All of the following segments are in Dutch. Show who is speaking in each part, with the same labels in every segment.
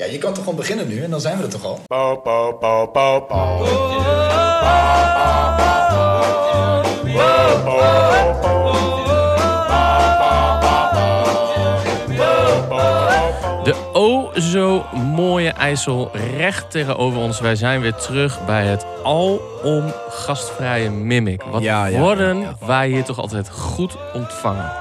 Speaker 1: Ja, je kan toch gewoon beginnen nu en dan zijn we er toch al?
Speaker 2: Bow, bow, bow, bow, bow.
Speaker 3: De o zo mooie IJssel recht tegenover ons. Wij zijn weer terug bij het alom gastvrije Mimic. Wat
Speaker 4: Ja, ja,
Speaker 3: worden wij hier toch altijd goed ontvangen.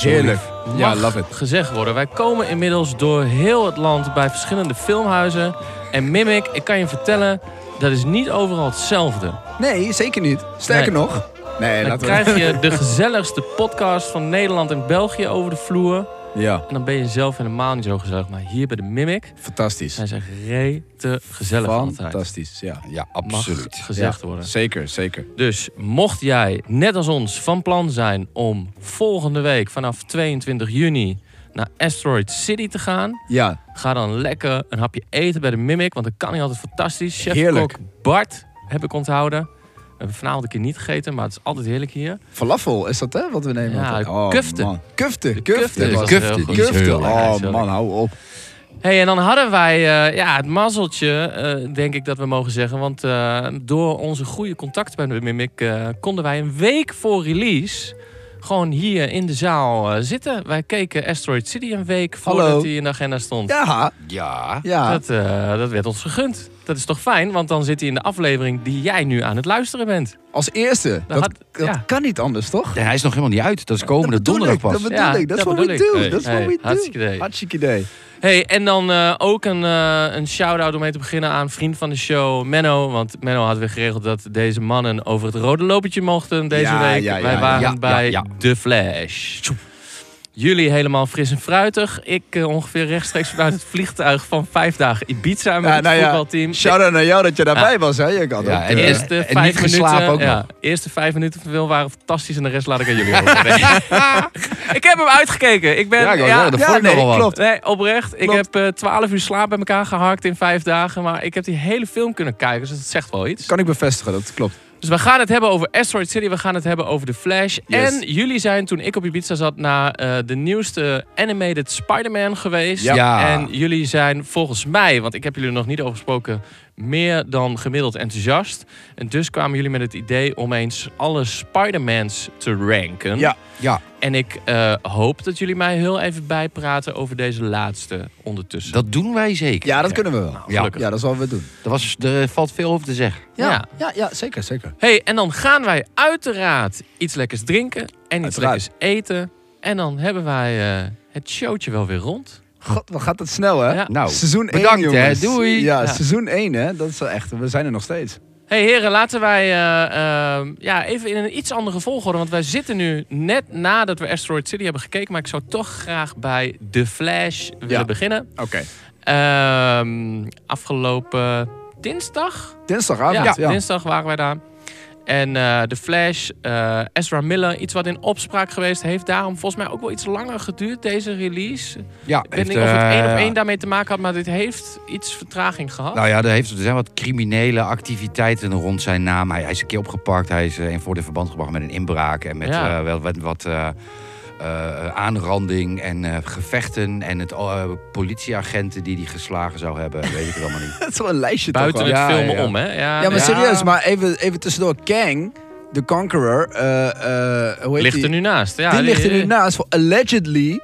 Speaker 4: Heerlijk. Ja,
Speaker 3: Mag
Speaker 4: love it.
Speaker 3: gezegd worden. Wij komen inmiddels door heel het land bij verschillende filmhuizen. En Mimic, ik kan je vertellen, dat is niet overal hetzelfde.
Speaker 4: Nee, zeker niet. Sterker
Speaker 3: Nee.
Speaker 4: nog. Nee,
Speaker 3: Dan
Speaker 4: laten
Speaker 3: krijg
Speaker 4: we...
Speaker 3: je de gezelligste podcast van Nederland en België over de vloer.
Speaker 4: Ja,
Speaker 3: En dan ben je zelf helemaal niet zo gezellig. Maar hier bij de Mimic
Speaker 4: fantastisch.
Speaker 3: zijn ze rete gezellig altijd.
Speaker 4: Fantastisch. Ja, ja
Speaker 3: Mag
Speaker 4: absoluut.
Speaker 3: gezegd
Speaker 4: Ja,
Speaker 3: worden.
Speaker 4: Zeker, zeker.
Speaker 3: Dus mocht jij, net als ons, van plan zijn om volgende week vanaf 22 juni naar Asteroid City te gaan,
Speaker 4: Ja,
Speaker 3: ga dan lekker een hapje eten bij de Mimic, want dat kan hij altijd fantastisch. Chef
Speaker 4: Heerlijk.
Speaker 3: kok Bart heb ik onthouden. We hebben vanavond een keer niet gegeten, maar het is altijd heerlijk hier.
Speaker 4: falafel is dat hè, wat we nemen?
Speaker 3: Ja,
Speaker 4: altijd?
Speaker 3: kufte.
Speaker 4: man. Kufte,
Speaker 3: kufte
Speaker 4: kufte.
Speaker 3: is
Speaker 4: man.
Speaker 3: altijd heel goed. Die is
Speaker 4: kufte.
Speaker 3: heel lekker,
Speaker 4: Oh
Speaker 3: is heel
Speaker 4: man, hou op.
Speaker 3: hey, en dan hadden wij eh, ja, het mazzeltje, eh, denk ik dat we mogen zeggen. Want eh, door onze goede contacten bij de Mimic eh, konden wij een week voor release gewoon hier in de zaal eh, zitten. Wij keken Asteroid City een week voordat
Speaker 4: Hallo.
Speaker 3: hij in de agenda stond.
Speaker 4: Ja,
Speaker 5: Ja.
Speaker 4: ja.
Speaker 3: Dat, eh, dat werd ons gegund. Dat is toch fijn, want dan zit hij in de aflevering die jij nu aan het luisteren bent.
Speaker 4: Als eerste. Dat,
Speaker 3: had-
Speaker 4: dat
Speaker 3: ja.
Speaker 4: kan niet anders, toch?
Speaker 5: Ja, hij is nog helemaal niet uit. Dat is komende
Speaker 4: Dat bedoel
Speaker 5: donderdag
Speaker 4: ik, Dat
Speaker 5: pas.
Speaker 4: bedoel
Speaker 3: Ja,
Speaker 4: ik. Dat is
Speaker 3: dat
Speaker 4: what we
Speaker 3: bedoel ik.
Speaker 4: do.
Speaker 3: Hey,
Speaker 4: Dat is
Speaker 3: hey,
Speaker 4: what we do.
Speaker 3: hartstikke idee.
Speaker 4: Hartstikke idee.
Speaker 3: Hey, en dan eh, ook een, eh, een shout-out om mee te beginnen aan vriend van de show, Menno. Want Menno had weer geregeld dat deze mannen over het rode lopertje mochten deze
Speaker 4: Ja,
Speaker 3: week.
Speaker 4: ja, ja,
Speaker 3: Wij
Speaker 4: ja,
Speaker 3: waren
Speaker 5: ja, ja,
Speaker 3: bij
Speaker 5: ja.
Speaker 3: The Flash. Jullie helemaal fris en fruitig. Ik eh, ongeveer rechtstreeks vanuit het vliegtuig van vijf dagen Ibiza met
Speaker 4: Ja,
Speaker 3: het
Speaker 4: nou ja,
Speaker 3: voetbalteam.
Speaker 4: Shout-out naar jou dat je daarbij was. Hè? Je kan
Speaker 5: Ja,
Speaker 4: ook,
Speaker 5: en
Speaker 4: eh,
Speaker 5: eerst-
Speaker 3: Eerste
Speaker 5: en
Speaker 3: vijf
Speaker 5: niet geslapen
Speaker 3: minuten,
Speaker 5: ook
Speaker 3: ja,
Speaker 5: nog.
Speaker 3: eerste vijf minuten van Wil waren fantastisch en de rest laat ik aan jullie horen. Nee. ik heb hem uitgekeken. Ik ben,
Speaker 5: Ja, ik wou zeggen, dat
Speaker 4: ja,
Speaker 5: vond ik
Speaker 4: nee,
Speaker 5: nogal wat.
Speaker 4: klopt.
Speaker 3: Nee, oprecht. Ik
Speaker 4: Klopt.
Speaker 3: heb eh, twaalf uur slaap bij elkaar gehakt in vijf dagen. Maar ik heb die hele film kunnen kijken, dus dat zegt wel iets.
Speaker 4: Kan ik bevestigen, dat klopt.
Speaker 3: Dus we gaan het hebben over Asteroid City, we gaan het hebben over The Flash.
Speaker 4: Yes.
Speaker 3: En jullie zijn, toen ik op Ibiza zat, naar eh, de nieuwste animated Spider-Man geweest.
Speaker 4: Ja.
Speaker 5: Ja.
Speaker 3: En jullie zijn volgens mij, want ik heb jullie er nog niet over gesproken, meer dan gemiddeld enthousiast. En dus kwamen jullie met het idee om eens alle Spider-Mans te ranken.
Speaker 4: Ja.
Speaker 5: Ja,
Speaker 3: En ik eh, hoop dat jullie mij heel even bijpraten over deze laatste ondertussen.
Speaker 5: dat doen wij zeker.
Speaker 4: Ja, dat kunnen we wel.
Speaker 5: ja.
Speaker 4: ja. dat is wat we doen.
Speaker 5: Er, was, er valt veel over te zeggen.
Speaker 3: Ja.
Speaker 4: ja, ja zeker, zeker.
Speaker 3: hey, en dan gaan wij uiteraard iets lekkers drinken en iets
Speaker 4: Uiteraard.
Speaker 3: lekkers eten. En dan hebben wij eh, het showtje wel weer rond.
Speaker 4: God, wat gaat dat snel, hè?
Speaker 3: Ja.
Speaker 5: Nou,
Speaker 4: seizoen 1,
Speaker 5: bedankt, hè.
Speaker 4: jongens.
Speaker 5: Doei.
Speaker 4: Ja,
Speaker 3: Ja.
Speaker 4: seizoen 1, hè. Dat is wel echt... We zijn er nog steeds.
Speaker 3: hey, heren, laten wij eh, eh, ja, even in een iets andere volgorde. Want wij zitten nu net nadat we Asteroid City hebben gekeken. Maar ik zou toch graag bij The Flash willen beginnen.
Speaker 4: Oké.
Speaker 3: Ehm, afgelopen dinsdag
Speaker 4: Dinsdagavond,
Speaker 3: Oh, Ja,
Speaker 4: ja.
Speaker 3: dinsdag waren wij daar. En eh The Flash, eh, Ezra Miller, iets wat in opspraak geweest, heeft daarom volgens mij ook wel iets langer geduurd, deze release.
Speaker 5: Ja,
Speaker 3: Ik weet niet of het
Speaker 4: eh,
Speaker 3: één op één daarmee te maken had, maar dit heeft iets vertraging gehad.
Speaker 5: Nou ja, er, heeft, er zijn wat criminele activiteiten rond zijn naam. Hij, hij is een keer opgepakt. Hij is eh, in voor de verband gebracht met een inbraak. En met
Speaker 3: Ja.
Speaker 5: eh, wel wat, wat eh, eh, aanranding en eh, gevechten. En het, eh, politieagenten die die geslagen zou hebben. Weet ik het allemaal niet.
Speaker 4: Dat is wel een lijstje
Speaker 3: Buiten
Speaker 4: toch
Speaker 3: het
Speaker 4: wel.
Speaker 5: ja,
Speaker 3: filmen
Speaker 5: ja.
Speaker 3: om, hè? Ja,
Speaker 4: Ja, maar
Speaker 3: ja.
Speaker 4: serieus. Maar even, even tussendoor. Kang, The Conqueror, eh, eh, hoe heet
Speaker 3: ligt
Speaker 4: die?
Speaker 3: er nu naast. Ja,
Speaker 4: die ligt er nu naast voor allegedly...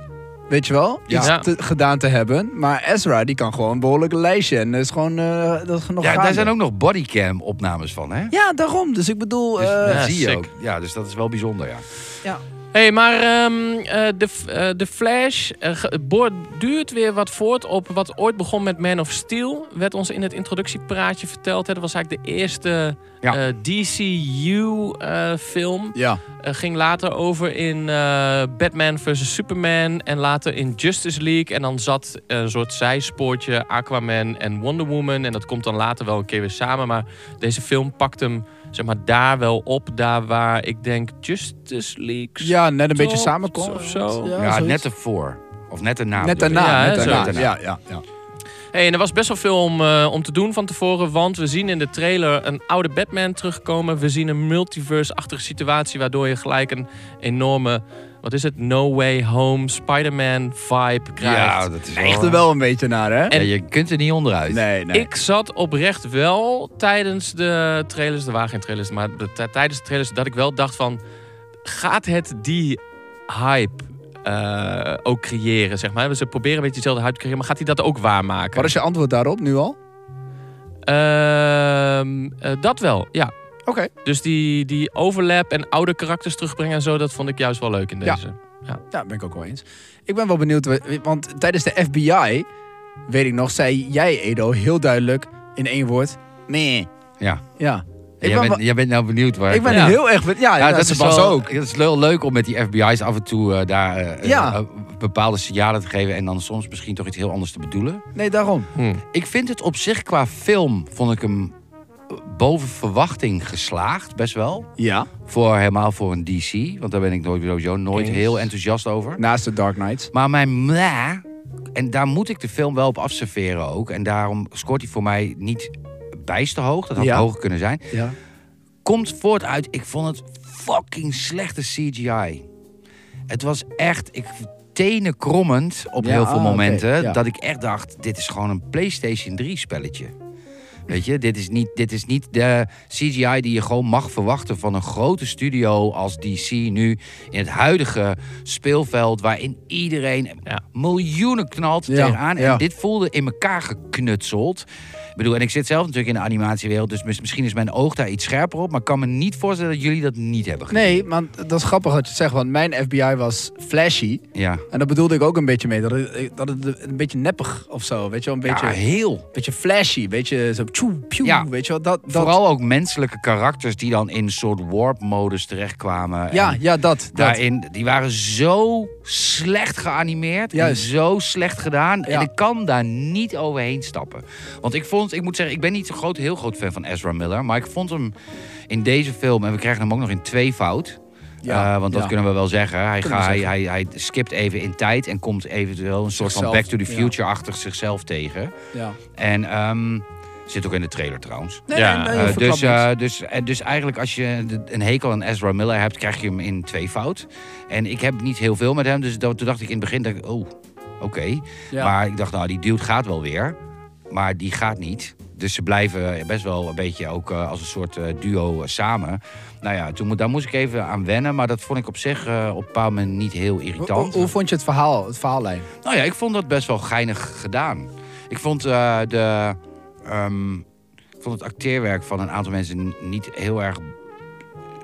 Speaker 4: Weet je wel?
Speaker 5: Ja.
Speaker 4: Iets
Speaker 3: Ja.
Speaker 4: te- gedaan te hebben. Maar Ezra, die kan gewoon een behoorlijk lijstje. En dat is gewoon... eh, dat is nog
Speaker 5: Ja, daar
Speaker 4: gaande.
Speaker 5: zijn ook nog bodycam opnames van, hè?
Speaker 4: Ja, daarom. Dus ik bedoel...
Speaker 5: Dus,
Speaker 4: eh,
Speaker 5: dat
Speaker 3: ja,
Speaker 5: zie je
Speaker 3: sick.
Speaker 5: ook. Ja, dus dat is wel bijzonder, ja.
Speaker 3: Hé, hey, maar ehm, eh, de, f- eh, de Flash eh, ge- boort- duurt weer wat voort op wat ooit begon met Man of Steel. Werd ons in het introductiepraatje verteld. Hè. Dat was eigenlijk de eerste eh,
Speaker 5: Ja.
Speaker 3: DCU-film.
Speaker 4: Ja.
Speaker 3: eh, ging later over in eh, Batman vs. Superman en later in Justice League. En dan zat eh, een soort zijspoortje Aquaman en Wonder Woman. En dat komt dan later wel een keer weer samen. Maar deze film pakt hem zeg maar, daar wel op. Daar waar ik denk Justice League...
Speaker 4: Ja, net een beetje
Speaker 3: Tot
Speaker 4: samenkomt.
Speaker 3: of zo.
Speaker 5: Ja, net ervoor. Of net erna.
Speaker 4: Net
Speaker 5: bedoel ik.
Speaker 4: daarna.
Speaker 3: Ja,
Speaker 4: net
Speaker 3: hè,
Speaker 4: daarna.
Speaker 5: zo.
Speaker 4: Ja, ja, ja.
Speaker 3: Hey, en er was best wel veel om, eh, om te doen van tevoren. Want we zien in de trailer een oude Batman terugkomen. We zien een multiverse-achtige situatie. Waardoor je gelijk een enorme wat is het? No Way Home, Spider-Man vibe krijgt.
Speaker 5: Ja, dat is wel...
Speaker 4: Echt er wel een beetje naar, hè?
Speaker 5: Ja, je kunt er niet onderuit.
Speaker 4: Nee, nee.
Speaker 3: Ik zat oprecht wel tijdens de trailers, er waren geen trailers, maar de- t- tijdens de trailers dat ik wel dacht van, gaat het die hype eh, ook creëren, zeg maar? Ze proberen een beetje dezelfde hype te creëren, maar gaat hij dat ook waarmaken?
Speaker 4: Wat is je antwoord daarop nu al?
Speaker 3: Ehm, eh, dat wel, ja.
Speaker 4: Oké.
Speaker 3: Dus die, die overlap en oude karakters terugbrengen en zo, dat vond ik juist wel leuk in
Speaker 4: Ja.
Speaker 3: deze.
Speaker 4: Ja, ben ik ook wel eens. Ik ben wel benieuwd, wa- want tijdens de FBI, weet ik nog, zei jij Edo heel duidelijk in één woord, nee.
Speaker 5: Ja.
Speaker 4: Ja. Ik
Speaker 5: Jij,
Speaker 4: ben,
Speaker 5: bent,
Speaker 4: wel-
Speaker 5: jij bent nou benieuwd waar...
Speaker 4: ik ben
Speaker 3: Ja.
Speaker 4: heel erg... be- Ja,
Speaker 5: Ja,
Speaker 4: ja,
Speaker 5: dat is
Speaker 4: Sebas
Speaker 5: wel,
Speaker 4: ook.
Speaker 5: Dat is wel leuk om met die FBI's af en toe eh, daar eh,
Speaker 4: Ja.
Speaker 5: eh, bepaalde signalen te geven en dan soms misschien toch iets heel anders te bedoelen.
Speaker 4: Nee, daarom.
Speaker 3: Hm.
Speaker 5: Ik vind het op zich qua film, vond ik hem eh, boven verwachting geslaagd, best wel.
Speaker 4: Ja.
Speaker 5: Voor, helemaal voor een DC, want daar ben ik nooit, sowieso nooit
Speaker 3: Eens.
Speaker 5: heel enthousiast over.
Speaker 4: Naast de Dark Knights.
Speaker 5: Maar mijn meh, en daar moet ik de film wel op afserveren ook. En daarom scoort hij voor mij niet bijster hoog, dat had
Speaker 4: Ja.
Speaker 5: hoger kunnen zijn.
Speaker 4: Ja.
Speaker 5: komt voort uit, ik vond het fucking slechte CGI. Het was echt, ik tenen krommend op
Speaker 4: Ja,
Speaker 5: heel veel
Speaker 4: ah, oké,
Speaker 5: momenten,
Speaker 4: ja.
Speaker 5: dat ik echt dacht, dit is gewoon een PlayStation 3 spelletje. Weet je, dit is, niet, dit is niet de CGI die je gewoon mag verwachten van een grote studio als DC nu in het huidige speelveld waarin iedereen
Speaker 3: Ja.
Speaker 5: miljoenen knalt
Speaker 4: Ja,
Speaker 5: tegenaan. En
Speaker 4: ja.
Speaker 5: dit voelde in elkaar geknutseld. Ik bedoel, en ik zit zelf natuurlijk in de animatiewereld, dus mis- misschien is mijn oog daar iets scherper op, maar ik kan me niet voorstellen dat jullie dat niet hebben gedaan.
Speaker 4: Nee, want dat is grappig dat je het zegt, want mijn FBI was flashy.
Speaker 5: Ja.
Speaker 4: En dat bedoelde ik ook een beetje mee, dat het, eh, dat het een beetje neppig of zo, weet je wel. Een beetje,
Speaker 5: ja, heel.
Speaker 4: beetje flashy, beetje zo tjoe, pjoe,
Speaker 5: Ja.
Speaker 4: weet je wel. Dat, dat,
Speaker 5: Vooral ook menselijke karakters die dan in een soort warp-modus terechtkwamen.
Speaker 4: Ja,
Speaker 5: En
Speaker 4: ja, dat. dat.
Speaker 5: Daarin, die waren zo slecht geanimeerd
Speaker 4: Juist.
Speaker 5: en zo slecht gedaan. En
Speaker 4: Ja.
Speaker 5: ik kan daar niet overheen stappen. Want ik vond, ik moet zeggen, ik ben niet zo'n groot, heel groot fan van Ezra Miller. Maar ik vond hem in deze film, en we krijgen hem ook nog in twee fout.
Speaker 4: Ja,
Speaker 5: want dat
Speaker 4: ja.
Speaker 5: kunnen we wel zeggen. Hij,
Speaker 4: Kunnen we
Speaker 5: gaat, hij,
Speaker 4: zeggen.
Speaker 5: hij, hij skipt even in tijd en komt eventueel een soort
Speaker 4: Zichzelf,
Speaker 5: van Back to the
Speaker 4: ja.
Speaker 5: Future-achtig zichzelf tegen.
Speaker 4: Ja.
Speaker 5: En ehm, zit ook in de trailer trouwens.
Speaker 4: Nee,
Speaker 3: Ja,
Speaker 4: nee, nee,
Speaker 5: Eh,
Speaker 4: je verklapt
Speaker 5: dus, eh,
Speaker 4: niks.
Speaker 5: dus, eh, dus eigenlijk als je de- een hekel aan Ezra Miller hebt, krijg je hem in twee fout. En ik heb niet heel veel met hem, dus dat, toen dacht ik in het begin, dacht ik, oh, oké.
Speaker 4: Ja.
Speaker 5: Maar ik dacht, nou, die dude gaat wel weer, maar die gaat niet. Dus ze blijven best wel een beetje ook eh, als een soort eh, duo eh, samen. Nou ja, toen, mo- daar moest ik even aan wennen, maar dat vond ik op zich eh, op een bepaald moment niet heel
Speaker 4: Hoe-
Speaker 5: irritant.
Speaker 4: hoe, hoe vond je het verhaal, het verhaallijn?
Speaker 5: Nou ja, ik vond dat best wel geinig gedaan. Ik vond, eh, de, ehm, ik vond het acteerwerk van een aantal mensen niet heel erg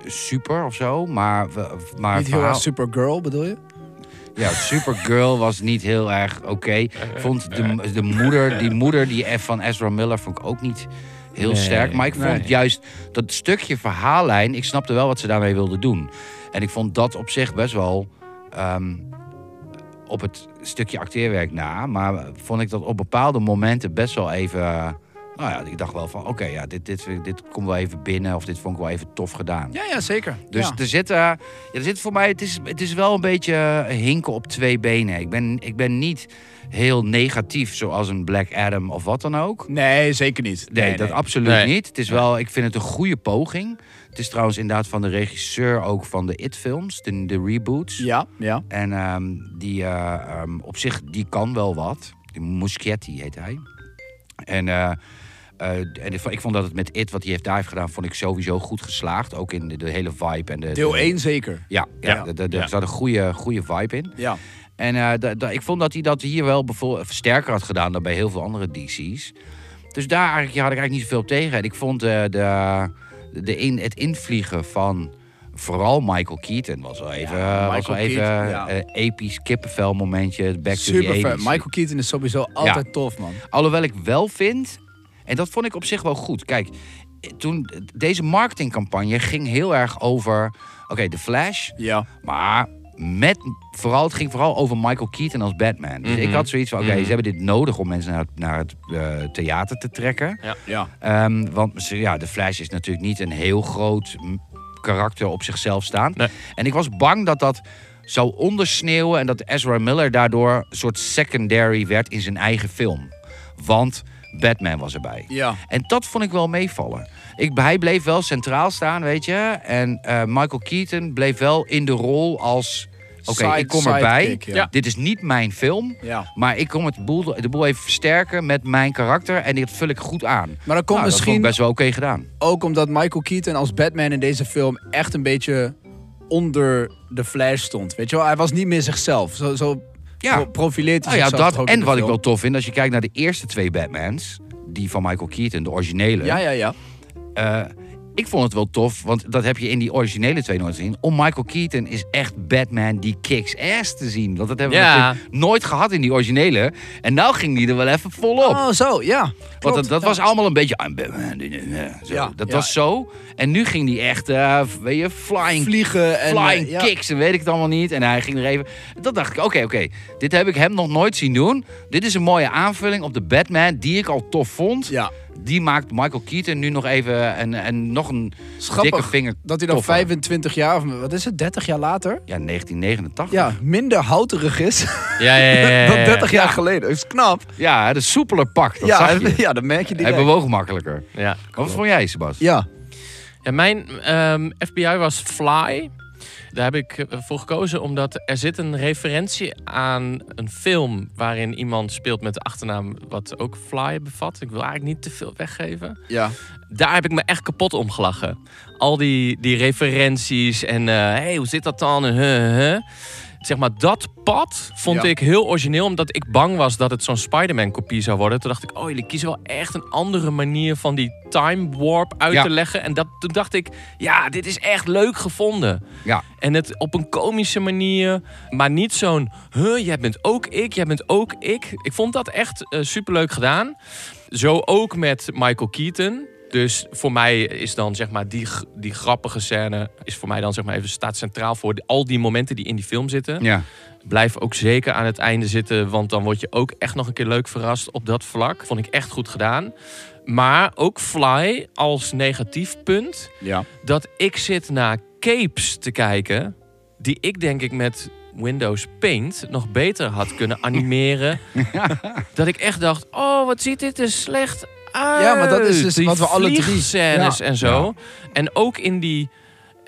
Speaker 5: super of zo. Maar, we- maar
Speaker 4: Niet heel
Speaker 5: verhaal-
Speaker 4: erg Supergirl, bedoel je?
Speaker 5: ja, Supergirl was niet heel erg oké. Ik vond de, de moeder, die moeder die F van Ezra Miller vond ik ook niet heel
Speaker 3: Nee,
Speaker 5: sterk. Maar ik vond
Speaker 4: nee.
Speaker 5: juist dat stukje verhaallijn, ik snapte wel wat ze daarmee wilden doen. En ik vond dat op zich best wel ehm, op het stukje acteerwerk na. Maar vond ik dat op bepaalde momenten best wel even... Nou ja, ik dacht wel van, oké, ja, dit, dit, dit komt wel even binnen. Of dit vond ik wel even tof gedaan.
Speaker 4: Ja, ja zeker.
Speaker 5: Dus er, zit, eh, ja, er zit voor mij, het is, het is wel een beetje eh, hinken op twee benen. Ik ben, ik ben niet heel negatief zoals een Black Adam of wat dan ook.
Speaker 4: Nee, zeker niet.
Speaker 5: Nee, dat absoluut
Speaker 3: Nee.
Speaker 5: niet. Het is wel, ik vind het een goede poging. Het is trouwens inderdaad van de regisseur ook van de It-films, de, de reboots.
Speaker 4: Ja, ja.
Speaker 5: En ehm, die eh, ehm, op zich, die kan wel wat. Die Muschietti heet hij. En, eh, eh, en ik vond- ik vond dat het met It, wat hij heeft daar heeft gedaan, vond ik sowieso goed geslaagd. Ook in de, de hele vibe en de...
Speaker 4: Deel
Speaker 5: de-
Speaker 4: 1 zeker.
Speaker 5: ja, ja,
Speaker 3: Ja.
Speaker 5: d- d- d-
Speaker 3: Ja.
Speaker 5: er zat een goede, goede vibe in.
Speaker 4: Ja.
Speaker 5: En eh, d- d- ik vond dat hij dat hier wel bevo- sterker had gedaan dan bij heel veel andere DC's. Dus daar eigenlijk, ja, had ik eigenlijk niet zoveel op tegen. En ik vond eh, de, de in, het invliegen van vooral Michael Keaton was wel even,
Speaker 4: Michael
Speaker 5: was wel even
Speaker 4: Keaton, ja.
Speaker 5: eh, episch kippenvel momentje. het Back to
Speaker 4: Super
Speaker 5: the 80s.
Speaker 4: fan. Michael Keaton is sowieso altijd tof, man.
Speaker 5: Alhoewel ik wel vind, en dat vond ik op zich wel goed. Kijk, toen, deze marketingcampagne ging heel erg over, oké, de Flash,
Speaker 4: Ja.
Speaker 5: maar met, vooral, het ging vooral over Michael Keaton als Batman. Dus ik had zoiets van, oké, ze hebben dit nodig om mensen naar het, naar het eh, theater te trekken.
Speaker 4: Ja.
Speaker 5: Ehm, want ze- ja, de Flash is natuurlijk niet een heel groot mm, karakter op zichzelf staand.
Speaker 3: Nee.
Speaker 5: En ik was bang dat dat zou ondersneeuwen en dat Ezra Miller daardoor een soort secondary werd in zijn eigen film. Want Batman was erbij.
Speaker 4: Ja.
Speaker 5: En dat vond ik wel meevallen. Ik, hij bleef wel centraal staan, weet je. En eh, Michael Keaton bleef wel in de rol als Oké, ik kom erbij.
Speaker 4: sidekick, ja.
Speaker 3: Ja.
Speaker 4: Ja.
Speaker 5: Dit is niet mijn film.
Speaker 4: Ja.
Speaker 5: Maar ik kom het boel, de boel even versterken met mijn karakter. En dit vul ik goed aan.
Speaker 4: Maar dan komt
Speaker 5: Nou, dat vond
Speaker 4: misschien
Speaker 5: ik best wel oké gedaan.
Speaker 4: ook omdat Michael Keaton als Batman in deze film echt een beetje onder de flash stond. Weet je wel, hij was niet meer zichzelf. Zo, zo
Speaker 5: Ja.
Speaker 4: pro- profileert hij
Speaker 5: Nou ja,
Speaker 4: zichzelf toch
Speaker 5: dat,
Speaker 4: ook in
Speaker 5: en
Speaker 4: de
Speaker 5: wat ik
Speaker 4: film.
Speaker 5: wel tof vind, als je kijkt naar de eerste twee Batmans, die van Michael Keaton, de originele.
Speaker 4: Ja, ja, ja.
Speaker 5: eh, ik vond het wel tof, want dat heb je in die originele twee nooit gezien. Om Michael Keaton is echt Batman die kicks ass te zien. Want dat hebben we
Speaker 3: Ja.
Speaker 5: natuurlijk nooit gehad in die originele. En nou ging die er wel even volop.
Speaker 4: Oh, zo, ja.
Speaker 5: Want
Speaker 4: Klopt.
Speaker 5: dat, dat
Speaker 4: Ja.
Speaker 5: was allemaal een beetje... I'm Batman. eh, zo.
Speaker 4: Ja,
Speaker 5: dat
Speaker 4: ja.
Speaker 5: was zo. En nu ging die echt, eh, weet je, flying
Speaker 4: vliegen en
Speaker 5: flying
Speaker 4: eh, ja.
Speaker 5: kicks en weet ik het allemaal niet. En hij ging er even... Dat dacht ik, oké, oké. Dit heb ik hem nog nooit zien doen. Dit is een mooie aanvulling op de Batman die ik al tof vond.
Speaker 4: Ja.
Speaker 5: Die maakt Michael Keaton nu nog even een, en nog een
Speaker 4: Schappig
Speaker 5: dikke vinger
Speaker 4: dat hij dan
Speaker 5: toffer.
Speaker 4: 25 jaar, of wat is het, 30 jaar later?
Speaker 5: Ja, 1989.
Speaker 4: Ja, minder houterig is
Speaker 3: Ja, ja, ja. ja,
Speaker 4: dan
Speaker 3: ja.
Speaker 4: 30 jaar geleden. Dat is knap.
Speaker 5: Ja, de soepeler pak, Eh, dat
Speaker 4: ja,
Speaker 5: zag je.
Speaker 4: ja, dan merk je
Speaker 5: Hij
Speaker 4: direct.
Speaker 5: bewoog makkelijker.
Speaker 3: Ja.
Speaker 5: Wat vond jij, Sebas?
Speaker 4: Ja,
Speaker 3: Ja, mijn ehm, FBI was Fly. Daar heb ik eh, voor gekozen omdat er zit een referentie aan een film waarin iemand speelt met de achternaam wat ook Fly bevat. Ik wil eigenlijk niet te veel weggeven.
Speaker 4: ja.
Speaker 3: Daar heb ik me echt kapot om gelachen. Al die, die referenties en eh hey, hoe zit dat dan? En, huh, huh. Zeg maar, dat pad vond
Speaker 4: Ja.
Speaker 3: ik heel origineel, omdat ik bang was dat het zo'n Spider-Man-kopie zou worden. Toen dacht ik, oh, jullie kiezen wel echt een andere manier van die time warp uit
Speaker 5: Ja.
Speaker 3: te leggen. En dat, toen dacht ik, ja, dit is echt leuk gevonden.
Speaker 5: Ja.
Speaker 3: En het op een komische manier, maar niet zo'n, huh, jij bent ook ik, jij bent ook ik. Ik vond dat echt eh, superleuk gedaan. Zo ook met Michael Keaton. Dus voor mij is dan zeg maar die, g- die grappige scène, is voor mij dan zeg maar even staat centraal voor de- al die momenten die in die film zitten.
Speaker 5: Ja.
Speaker 3: Blijf ook zeker aan het einde zitten, want dan word je ook echt nog een keer leuk verrast op dat vlak. Vond ik echt goed gedaan. Maar ook Fly als negatief punt
Speaker 4: ja.
Speaker 3: dat ik zit naar capes te kijken. Die ik denk ik met Windows Paint nog beter had kunnen animeren. dat ik echt dacht, oh wat ziet dit er slecht uit.
Speaker 4: Ja, maar dat is dus
Speaker 3: Die
Speaker 4: wat we alle drie-
Speaker 3: vliegscènes
Speaker 4: Ja.
Speaker 3: en zo. En ook in die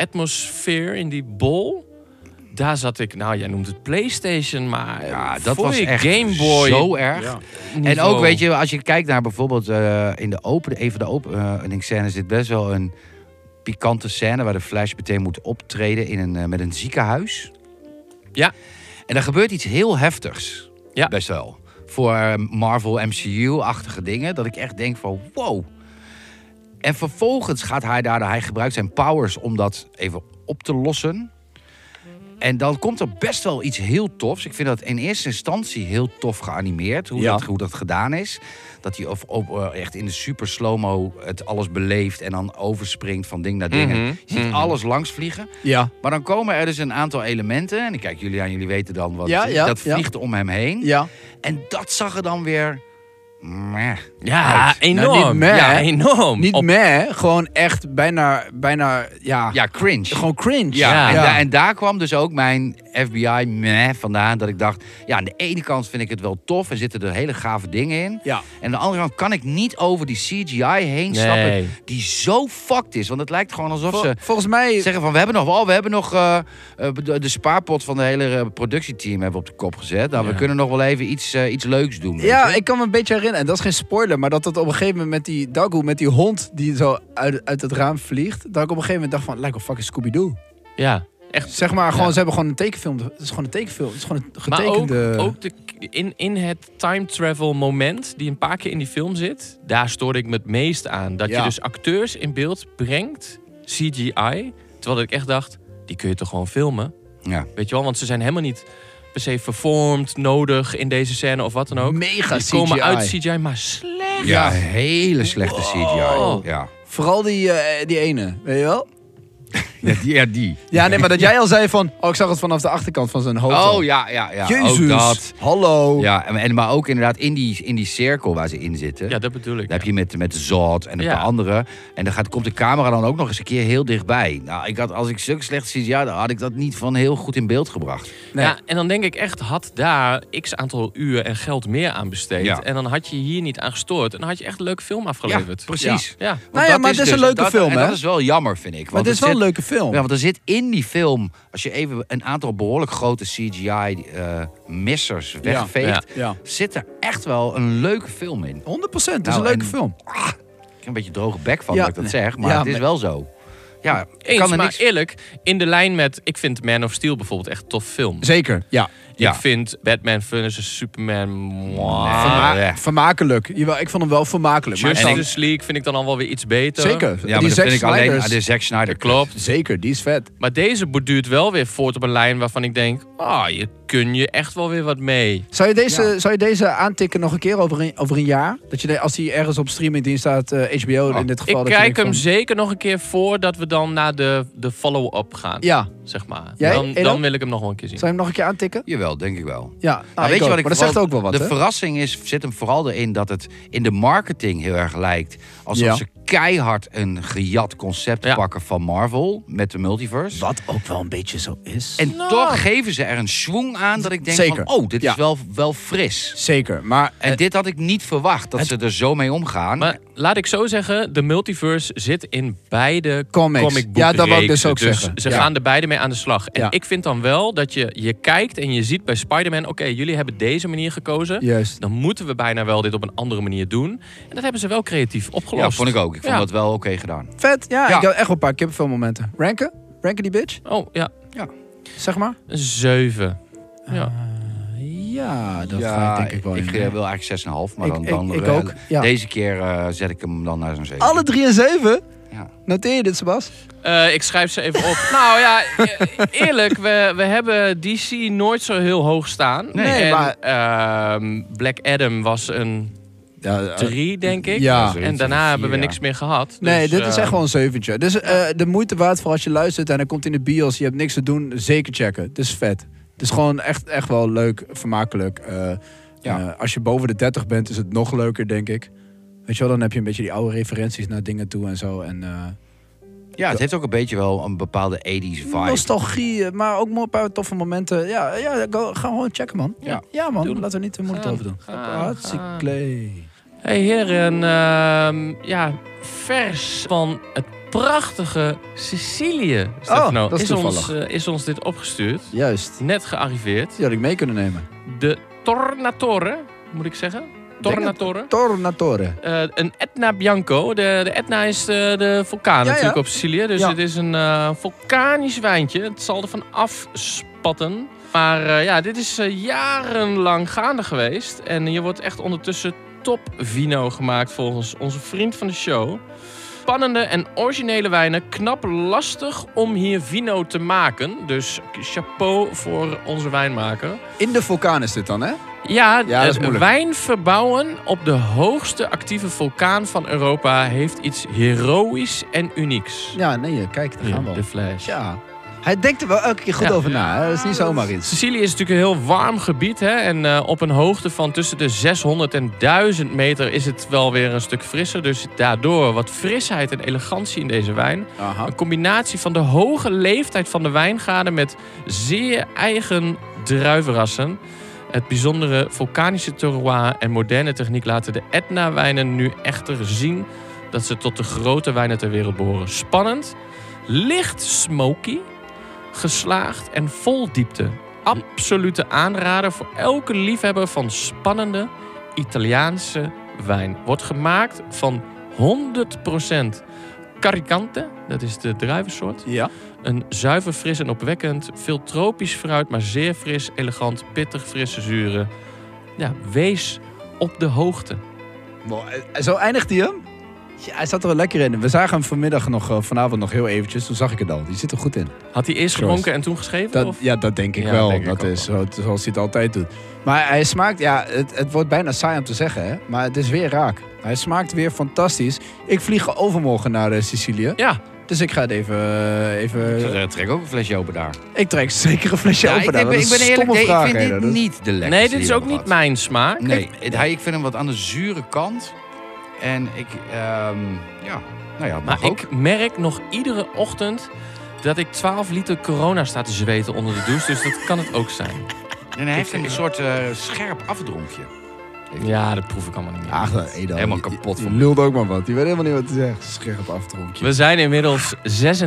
Speaker 3: atmosfeer, in die bol. Daar zat ik, nou jij noemt het Playstation, maar
Speaker 5: Ja, dat
Speaker 3: voor
Speaker 5: was
Speaker 3: je
Speaker 5: echt
Speaker 3: Game Boy
Speaker 5: zo erg. En
Speaker 3: niveau.
Speaker 5: ook, weet je, als je kijkt naar bijvoorbeeld eh, in de open, een van de openingsscènes zit best wel een pikante scène waar de Flash meteen moet optreden in een, eh, met een ziekenhuis.
Speaker 3: Ja.
Speaker 5: En er gebeurt iets heel heftigs.
Speaker 3: Ja.
Speaker 5: Best wel. Voor eh, Marvel MCU-achtige dingen, dat ik echt denk van wow. En vervolgens gaat hij daar, hij gebruikt zijn powers om dat even op te lossen. En dan komt er best wel iets heel tofs. Ik vind dat in eerste instantie heel tof geanimeerd. Hoe,
Speaker 4: Ja.
Speaker 5: dat, hoe dat gedaan is. Dat hij of, of, eh, echt in de super slow-mo het alles beleeft. En dan overspringt van ding naar ding. En
Speaker 3: Mhm,
Speaker 5: Je ziet alles langs vliegen.
Speaker 4: Ja,
Speaker 5: Maar dan komen er dus een aantal elementen. En ik kijk jullie aan, jullie weten dan wat.
Speaker 4: Ja, ja,
Speaker 5: dat
Speaker 4: ja.
Speaker 5: vliegt om hem heen.
Speaker 4: ja.
Speaker 5: En dat zag er dan weer... meh,
Speaker 3: Ja,
Speaker 5: uit.
Speaker 3: enorm.
Speaker 4: Nou, niet meh,
Speaker 3: ja,
Speaker 4: hè?
Speaker 3: enorm.
Speaker 4: Niet
Speaker 3: Op-
Speaker 4: meh, gewoon echt bijna, bijna ja,
Speaker 5: Ja, cringe.
Speaker 4: gewoon cringe.
Speaker 5: Ja,
Speaker 3: Ja.
Speaker 5: En,
Speaker 4: ja.
Speaker 5: da- en daar kwam dus ook mijn FBI meh vandaan. Dat ik dacht, ja, aan de ene kant vind ik het wel tof. Er zitten er hele gave dingen in.
Speaker 4: Ja.
Speaker 5: En aan de andere kant kan ik niet over die CGI heen stappen.
Speaker 3: Nee.
Speaker 5: Die zo fucked is. Want het lijkt gewoon alsof
Speaker 4: Vol-
Speaker 5: ze
Speaker 4: volgens mij,
Speaker 5: zeggen van... We hebben nog wel, we hebben nog eh, eh, de, de spaarpot van de hele eh, productieteam hebben we op de kop gezet. Nou, we
Speaker 3: Ja.
Speaker 5: kunnen nog wel even iets, eh, iets leuks doen. weet
Speaker 4: ja,
Speaker 5: je.
Speaker 4: ik kan me een beetje herinneren, en dat is geen spoiler, maar dat dat op een gegeven moment met die Dago, met die hond die zo uit, uit het raam vliegt, dat ik op een gegeven moment dacht van, lijkt wel fucking Scooby-Doo.
Speaker 3: Ja, echt
Speaker 4: Zeg maar, gewoon,
Speaker 3: Ja.
Speaker 4: ze hebben gewoon een tekenfilm, het is gewoon een tekenfilm, het is gewoon een
Speaker 3: Maar ook,
Speaker 4: getekende...
Speaker 3: ook de, in, in het time travel moment die een paar keer in die film zit, daar stoorde ik me het meest aan. Dat
Speaker 4: Ja.
Speaker 3: je dus acteurs in beeld brengt, CGI, terwijl ik echt dacht, die kun je toch gewoon filmen?
Speaker 5: Ja.
Speaker 3: Weet je wel, want ze zijn helemaal niet per se vervormd, nodig in deze scène of wat dan ook.
Speaker 4: mega
Speaker 3: die komen
Speaker 4: CGI.
Speaker 3: uit CGI, maar slecht.
Speaker 5: Ja, Oh. hele slechte
Speaker 3: Wow.
Speaker 5: CGI. Ja.
Speaker 4: Vooral die, eh, die ene, weet je wel?
Speaker 5: Ja, die. Ja, die.
Speaker 4: Ja, nee, maar dat jij al zei van, oh, ik zag het vanaf de achterkant van zijn hoofd. al.
Speaker 5: Oh ja, ja, ja.
Speaker 4: Jezus,
Speaker 5: Ook dat.
Speaker 4: hallo.
Speaker 5: Ja, en, en- maar ook inderdaad in die, in die cirkel waar ze in zitten.
Speaker 3: Ja, dat bedoel ik.
Speaker 5: Dan heb je met, met Zod en een
Speaker 3: Ja.
Speaker 5: paar anderen. En dan gaat, komt de camera dan ook nog eens een keer heel dichtbij. Nou, ik had, als ik zulke slecht zie, ja, dan had ik dat niet van heel goed in beeld gebracht.
Speaker 4: Nee.
Speaker 3: Ja, en dan denk ik echt, had daar x aantal uur en geld meer aan besteed.
Speaker 5: Ja.
Speaker 3: En dan had je hier niet aan gestoord. En dan had je echt een leuke film
Speaker 5: Ja,
Speaker 3: afgeleverd.
Speaker 5: precies.
Speaker 3: Ja.
Speaker 5: Want
Speaker 4: Nou ja, maar het is een leuke
Speaker 5: dat,
Speaker 4: film,
Speaker 5: en
Speaker 4: hè?
Speaker 5: dat is wel jammer, vind ik.
Speaker 4: Maar
Speaker 5: want
Speaker 4: het is wel een
Speaker 5: zit-
Speaker 4: leuke film.
Speaker 5: Ja, want er zit in die film, als je even een aantal behoorlijk grote CGI-missers eh, wegveegt,
Speaker 4: Ja.
Speaker 5: zit er echt wel een leuke film in.
Speaker 4: 100 procent. Het is
Speaker 5: Nou,
Speaker 4: een leuke
Speaker 5: en-
Speaker 4: film.
Speaker 5: Ik heb een beetje droge bek van
Speaker 4: Ja,
Speaker 5: dat ik dat
Speaker 4: nee.
Speaker 5: zeg, maar
Speaker 4: Ja,
Speaker 5: het is
Speaker 4: maar-
Speaker 5: wel zo. Ja, ik
Speaker 3: Eens,
Speaker 5: kan er
Speaker 3: maar
Speaker 5: niks...
Speaker 3: eerlijk, in de lijn met... Ik vind Man of Steel bijvoorbeeld echt een tof film.
Speaker 4: Zeker. Ja.
Speaker 5: Ja.
Speaker 3: Ik vind Batman versus Superman... moi.
Speaker 5: Ah, ja.
Speaker 4: Vermakelijk. Jawel, ik vond hem wel vermakelijk. Maar
Speaker 5: en ik-
Speaker 3: Justice League vind ik dan al wel weer iets beter.
Speaker 4: zeker.
Speaker 5: Ja, maar
Speaker 4: die
Speaker 5: dat
Speaker 4: Zack
Speaker 5: vind ik alleen ah,
Speaker 4: Snyder's-
Speaker 5: aan de Zack Snyder.
Speaker 3: Klopt.
Speaker 4: Zeker, die is vet.
Speaker 3: Maar deze duurt wel weer voort op een lijn waarvan ik denk... Ah, je kun je echt wel weer wat mee.
Speaker 4: Zou je deze,
Speaker 5: Ja.
Speaker 4: zou je deze aantikken nog een keer over een, over een jaar? Dat je, de- als die ergens op streamingdienst staat, eh, HBO in dit geval.
Speaker 3: ik
Speaker 4: dat je
Speaker 3: kijk hem
Speaker 4: denkt van-
Speaker 3: zeker nog een keer voordat we dan naar de, de follow-up gaan.
Speaker 4: Ja.
Speaker 3: Zeg maar.
Speaker 4: Jij,
Speaker 3: dan,
Speaker 4: Edo?
Speaker 3: dan wil ik hem nog wel een keer zien.
Speaker 4: Zou je hem nog een keer aantikken?
Speaker 5: Jawel, denk ik wel.
Speaker 4: Ja, nou,
Speaker 5: Nou, weet je wat ik
Speaker 4: maar dat
Speaker 5: vooral-
Speaker 4: zegt ook wel wat.
Speaker 5: De
Speaker 4: hè?
Speaker 5: verrassing is, zit hem vooral erin dat het in de marketing heel erg lijkt. Alsof
Speaker 4: Ja.
Speaker 5: ze keihard een gejat concept
Speaker 3: Ja.
Speaker 5: pakken van Marvel met de multiverse.
Speaker 4: Wat ook wel een beetje zo is.
Speaker 5: En
Speaker 3: Nou.
Speaker 5: toch geven ze er een swing aan dat ik denk
Speaker 4: Zeker.
Speaker 5: van, oh, dit
Speaker 4: Ja.
Speaker 5: is wel, wel fris.
Speaker 4: Zeker, maar
Speaker 5: En dit had ik niet verwacht, dat ze er zo mee omgaan.
Speaker 3: Eh, Maar laat ik zo zeggen, de multiverse zit in beide
Speaker 4: Comics.
Speaker 3: comicboeken.
Speaker 4: Ja, dat wou ik dus ook zeggen.
Speaker 3: Ze
Speaker 4: Ja.
Speaker 3: gaan er beide mee aan de slag. En
Speaker 4: Ja.
Speaker 3: ik vind dan wel dat je, je kijkt en je ziet bij Spider-Man... oké, jullie hebben deze manier gekozen.
Speaker 4: juist.
Speaker 3: Dan moeten we bijna wel dit op een andere manier doen. En dat hebben ze wel creatief opgelost.
Speaker 5: ja, vond ik ook. Ik vond
Speaker 3: Ja.
Speaker 5: dat wel oké gedaan.
Speaker 4: Vet, ja,
Speaker 5: Ja.
Speaker 4: Ik had echt wel een paar kippenfilmmomenten. Ranken? Ranken die bitch?
Speaker 3: Oh, ja.
Speaker 4: Zeg maar.
Speaker 3: Een zeven. Ja.
Speaker 4: Ja, dat
Speaker 5: ja,
Speaker 4: denk ik wel.
Speaker 5: Ik, eh, wil eigenlijk 6,5, maar
Speaker 4: Ik-
Speaker 5: dan,
Speaker 4: ik-
Speaker 5: dan
Speaker 4: ik
Speaker 5: eh,
Speaker 4: ook, ja.
Speaker 5: deze keer eh, zet ik hem dan naar zo'n 7.
Speaker 4: Alle drie en zeven?
Speaker 5: Ja.
Speaker 4: Noteer je dit, Sebas?
Speaker 3: Eh, ik schrijf ze even op. nou ja, eh, eerlijk, we, we hebben DC nooit zo heel hoog staan.
Speaker 4: Nee,
Speaker 3: en,
Speaker 4: maar-
Speaker 3: ehm, Black Adam was een
Speaker 4: Ja,
Speaker 3: drie, denk ik.
Speaker 4: ja.
Speaker 3: En
Speaker 5: Zoiets,
Speaker 3: daarna
Speaker 5: vier,
Speaker 3: hebben we
Speaker 5: ja.
Speaker 3: niks meer gehad. Dus,
Speaker 4: nee, dit is
Speaker 3: eh,
Speaker 4: echt wel een zeventje. Dus eh, de moeite waard voor als je luistert en dan komt in de bios, je hebt niks te doen, zeker checken. Het is vet. Het is gewoon echt, echt wel leuk, vermakelijk. Eh,
Speaker 5: Ja.
Speaker 4: eh, als je boven de 30 bent, is het nog leuker, denk ik. Weet je wel, dan heb je een beetje die oude referenties naar dingen toe en zo. En, eh,
Speaker 5: Ja, het heeft ook een beetje wel een bepaalde 80s vibe.
Speaker 4: nostalgie, eh, maar ook mooi een paar toffe momenten. Ja, ja go, ga gewoon checken, man.
Speaker 5: Ja.
Speaker 4: man,
Speaker 3: Doen.
Speaker 4: laten we niet te moeilijk
Speaker 3: Gaan,
Speaker 4: over doen.
Speaker 3: gaan, gaan.
Speaker 4: Hartstikke
Speaker 3: Hey heren, ehm, ja, vers van het prachtige Sicilië. Stefano,
Speaker 4: Oh, dat is
Speaker 3: ons,
Speaker 4: toevallig.
Speaker 3: eh, is ons dit opgestuurd.
Speaker 4: Juist.
Speaker 3: Net gearriveerd.
Speaker 4: Die had ik mee kunnen nemen.
Speaker 3: De Tornatore, moet ik zeggen? Tornatore.
Speaker 4: Tornatore.
Speaker 3: Eh, een Etna Bianco. De, de Etna is de, de vulkaan
Speaker 4: ja.
Speaker 3: natuurlijk op Sicilië. Dus
Speaker 4: Ja.
Speaker 3: het is een eh, vulkanisch wijntje. Het zal er van afspatten. Maar eh, ja, dit is eh, jarenlang gaande geweest. En hier wordt echt ondertussen top vino gemaakt volgens onze vriend van de show. Spannende en originele wijnen. Knap lastig om hier vino te maken. Dus chapeau voor onze wijnmaker.
Speaker 4: In de vulkaan is dit dan, hè?
Speaker 3: Ja,
Speaker 4: Ja, dat is
Speaker 3: eh,
Speaker 4: moeilijk.
Speaker 3: wijn verbouwen op de hoogste actieve vulkaan van Europa heeft iets heroïs en unieks.
Speaker 4: Ja, nee, kijk, daar gaan we
Speaker 3: de
Speaker 4: al.
Speaker 3: fles.
Speaker 4: Ja. Hij denkt er wel elke keer goed
Speaker 3: Ja.
Speaker 4: over na. Hè? Dat is niet zomaar iets.
Speaker 3: Sicilië is natuurlijk een heel warm gebied. Hè? En eh, op een hoogte van tussen de 600 en 1000 meter is het wel weer een stuk frisser. Dus daardoor wat frisheid en elegantie in deze wijn.
Speaker 4: Aha.
Speaker 3: Een combinatie van de hoge leeftijd van de wijngaarden met zeer eigen druivenrassen. Het bijzondere vulkanische terroir en moderne techniek laten de Etna-wijnen nu echter zien dat ze tot de grote wijnen ter wereld behoren. Spannend, licht smoky, geslaagd en vol diepte. Absolute aanrader voor elke liefhebber van spannende Italiaanse wijn. Wordt gemaakt van 100% Caricante, dat is de druivensoort.
Speaker 4: Ja.
Speaker 3: Een zuiver, fris en opwekkend. Veel tropisch fruit, maar zeer fris, elegant, pittig, frisse zuren. Ja, wees op de hoogte.
Speaker 4: Mooi. En eh, Zo eindigt hij hem. Ja, hij zat er wel lekker in. We zagen hem vanmiddag nog, eh, vanavond nog heel eventjes. Toen zag ik het al. Die zit er goed in.
Speaker 3: Had hij eerst
Speaker 4: Proost.
Speaker 3: gedronken en toen geschreven?
Speaker 4: Dat,
Speaker 3: of?
Speaker 4: ja, dat denk ik
Speaker 3: Ja,
Speaker 4: wel.
Speaker 3: denk ik
Speaker 4: dat
Speaker 3: ook
Speaker 4: is zo- zoals hij het altijd doet. Maar hij smaakt, ja, het, het wordt bijna saai om te zeggen, hè? maar het is weer raak. Hij smaakt weer fantastisch. Ik vlieg overmorgen naar eh, Sicilië.
Speaker 3: Ja,
Speaker 4: Dus ik ga het even. eh, even
Speaker 5: Eh, Trek ook een flesje open daar.
Speaker 4: ik trek zeker een flesje
Speaker 5: Ja,
Speaker 4: open.
Speaker 5: ik,
Speaker 4: daar,
Speaker 5: denk-
Speaker 4: want
Speaker 5: ik
Speaker 4: dat
Speaker 5: ben
Speaker 4: is
Speaker 5: eerlijk,
Speaker 4: stomme
Speaker 5: nee,
Speaker 4: vraag,
Speaker 5: ik vind
Speaker 4: hè,
Speaker 5: dit
Speaker 4: dat is-
Speaker 5: niet de lekkerste.
Speaker 3: nee, dit is
Speaker 5: die
Speaker 3: ook
Speaker 5: we
Speaker 3: niet
Speaker 5: hadden.
Speaker 3: mijn smaak.
Speaker 5: Nee, het- hij, ik vind hem wat aan de zure kant. En ik, ehm, ja, nou ja,
Speaker 3: Maar
Speaker 5: mag ook.
Speaker 3: ik merk nog iedere ochtend dat ik 12 liter corona sta te zweten onder de douche. Dus dat kan het ook zijn.
Speaker 5: En hij heeft een soort eh, scherp afdronkje.
Speaker 3: Ja, dat proef ik allemaal niet meer.
Speaker 4: Ach, Edo.
Speaker 5: Helemaal
Speaker 4: je- je-
Speaker 5: kapot
Speaker 4: je
Speaker 5: van-
Speaker 4: lult ook maar wat. Die weet helemaal niet wat hij zegt. Scherp aftronkje.
Speaker 3: We zijn inmiddels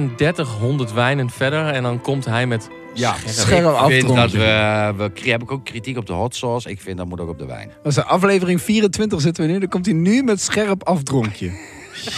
Speaker 3: 3600 wijnen verder en dan komt hij met...
Speaker 5: Ja,
Speaker 4: Scherp
Speaker 5: ik vind dat
Speaker 4: aftronkje.
Speaker 5: we, we... kri- Heb ik ook kritiek op de hot sauce? Ik vind dat moet ook op de wijn.
Speaker 4: Dat is de aflevering 24 zitten we nu. Dan komt hij nu met scherp afdronkje.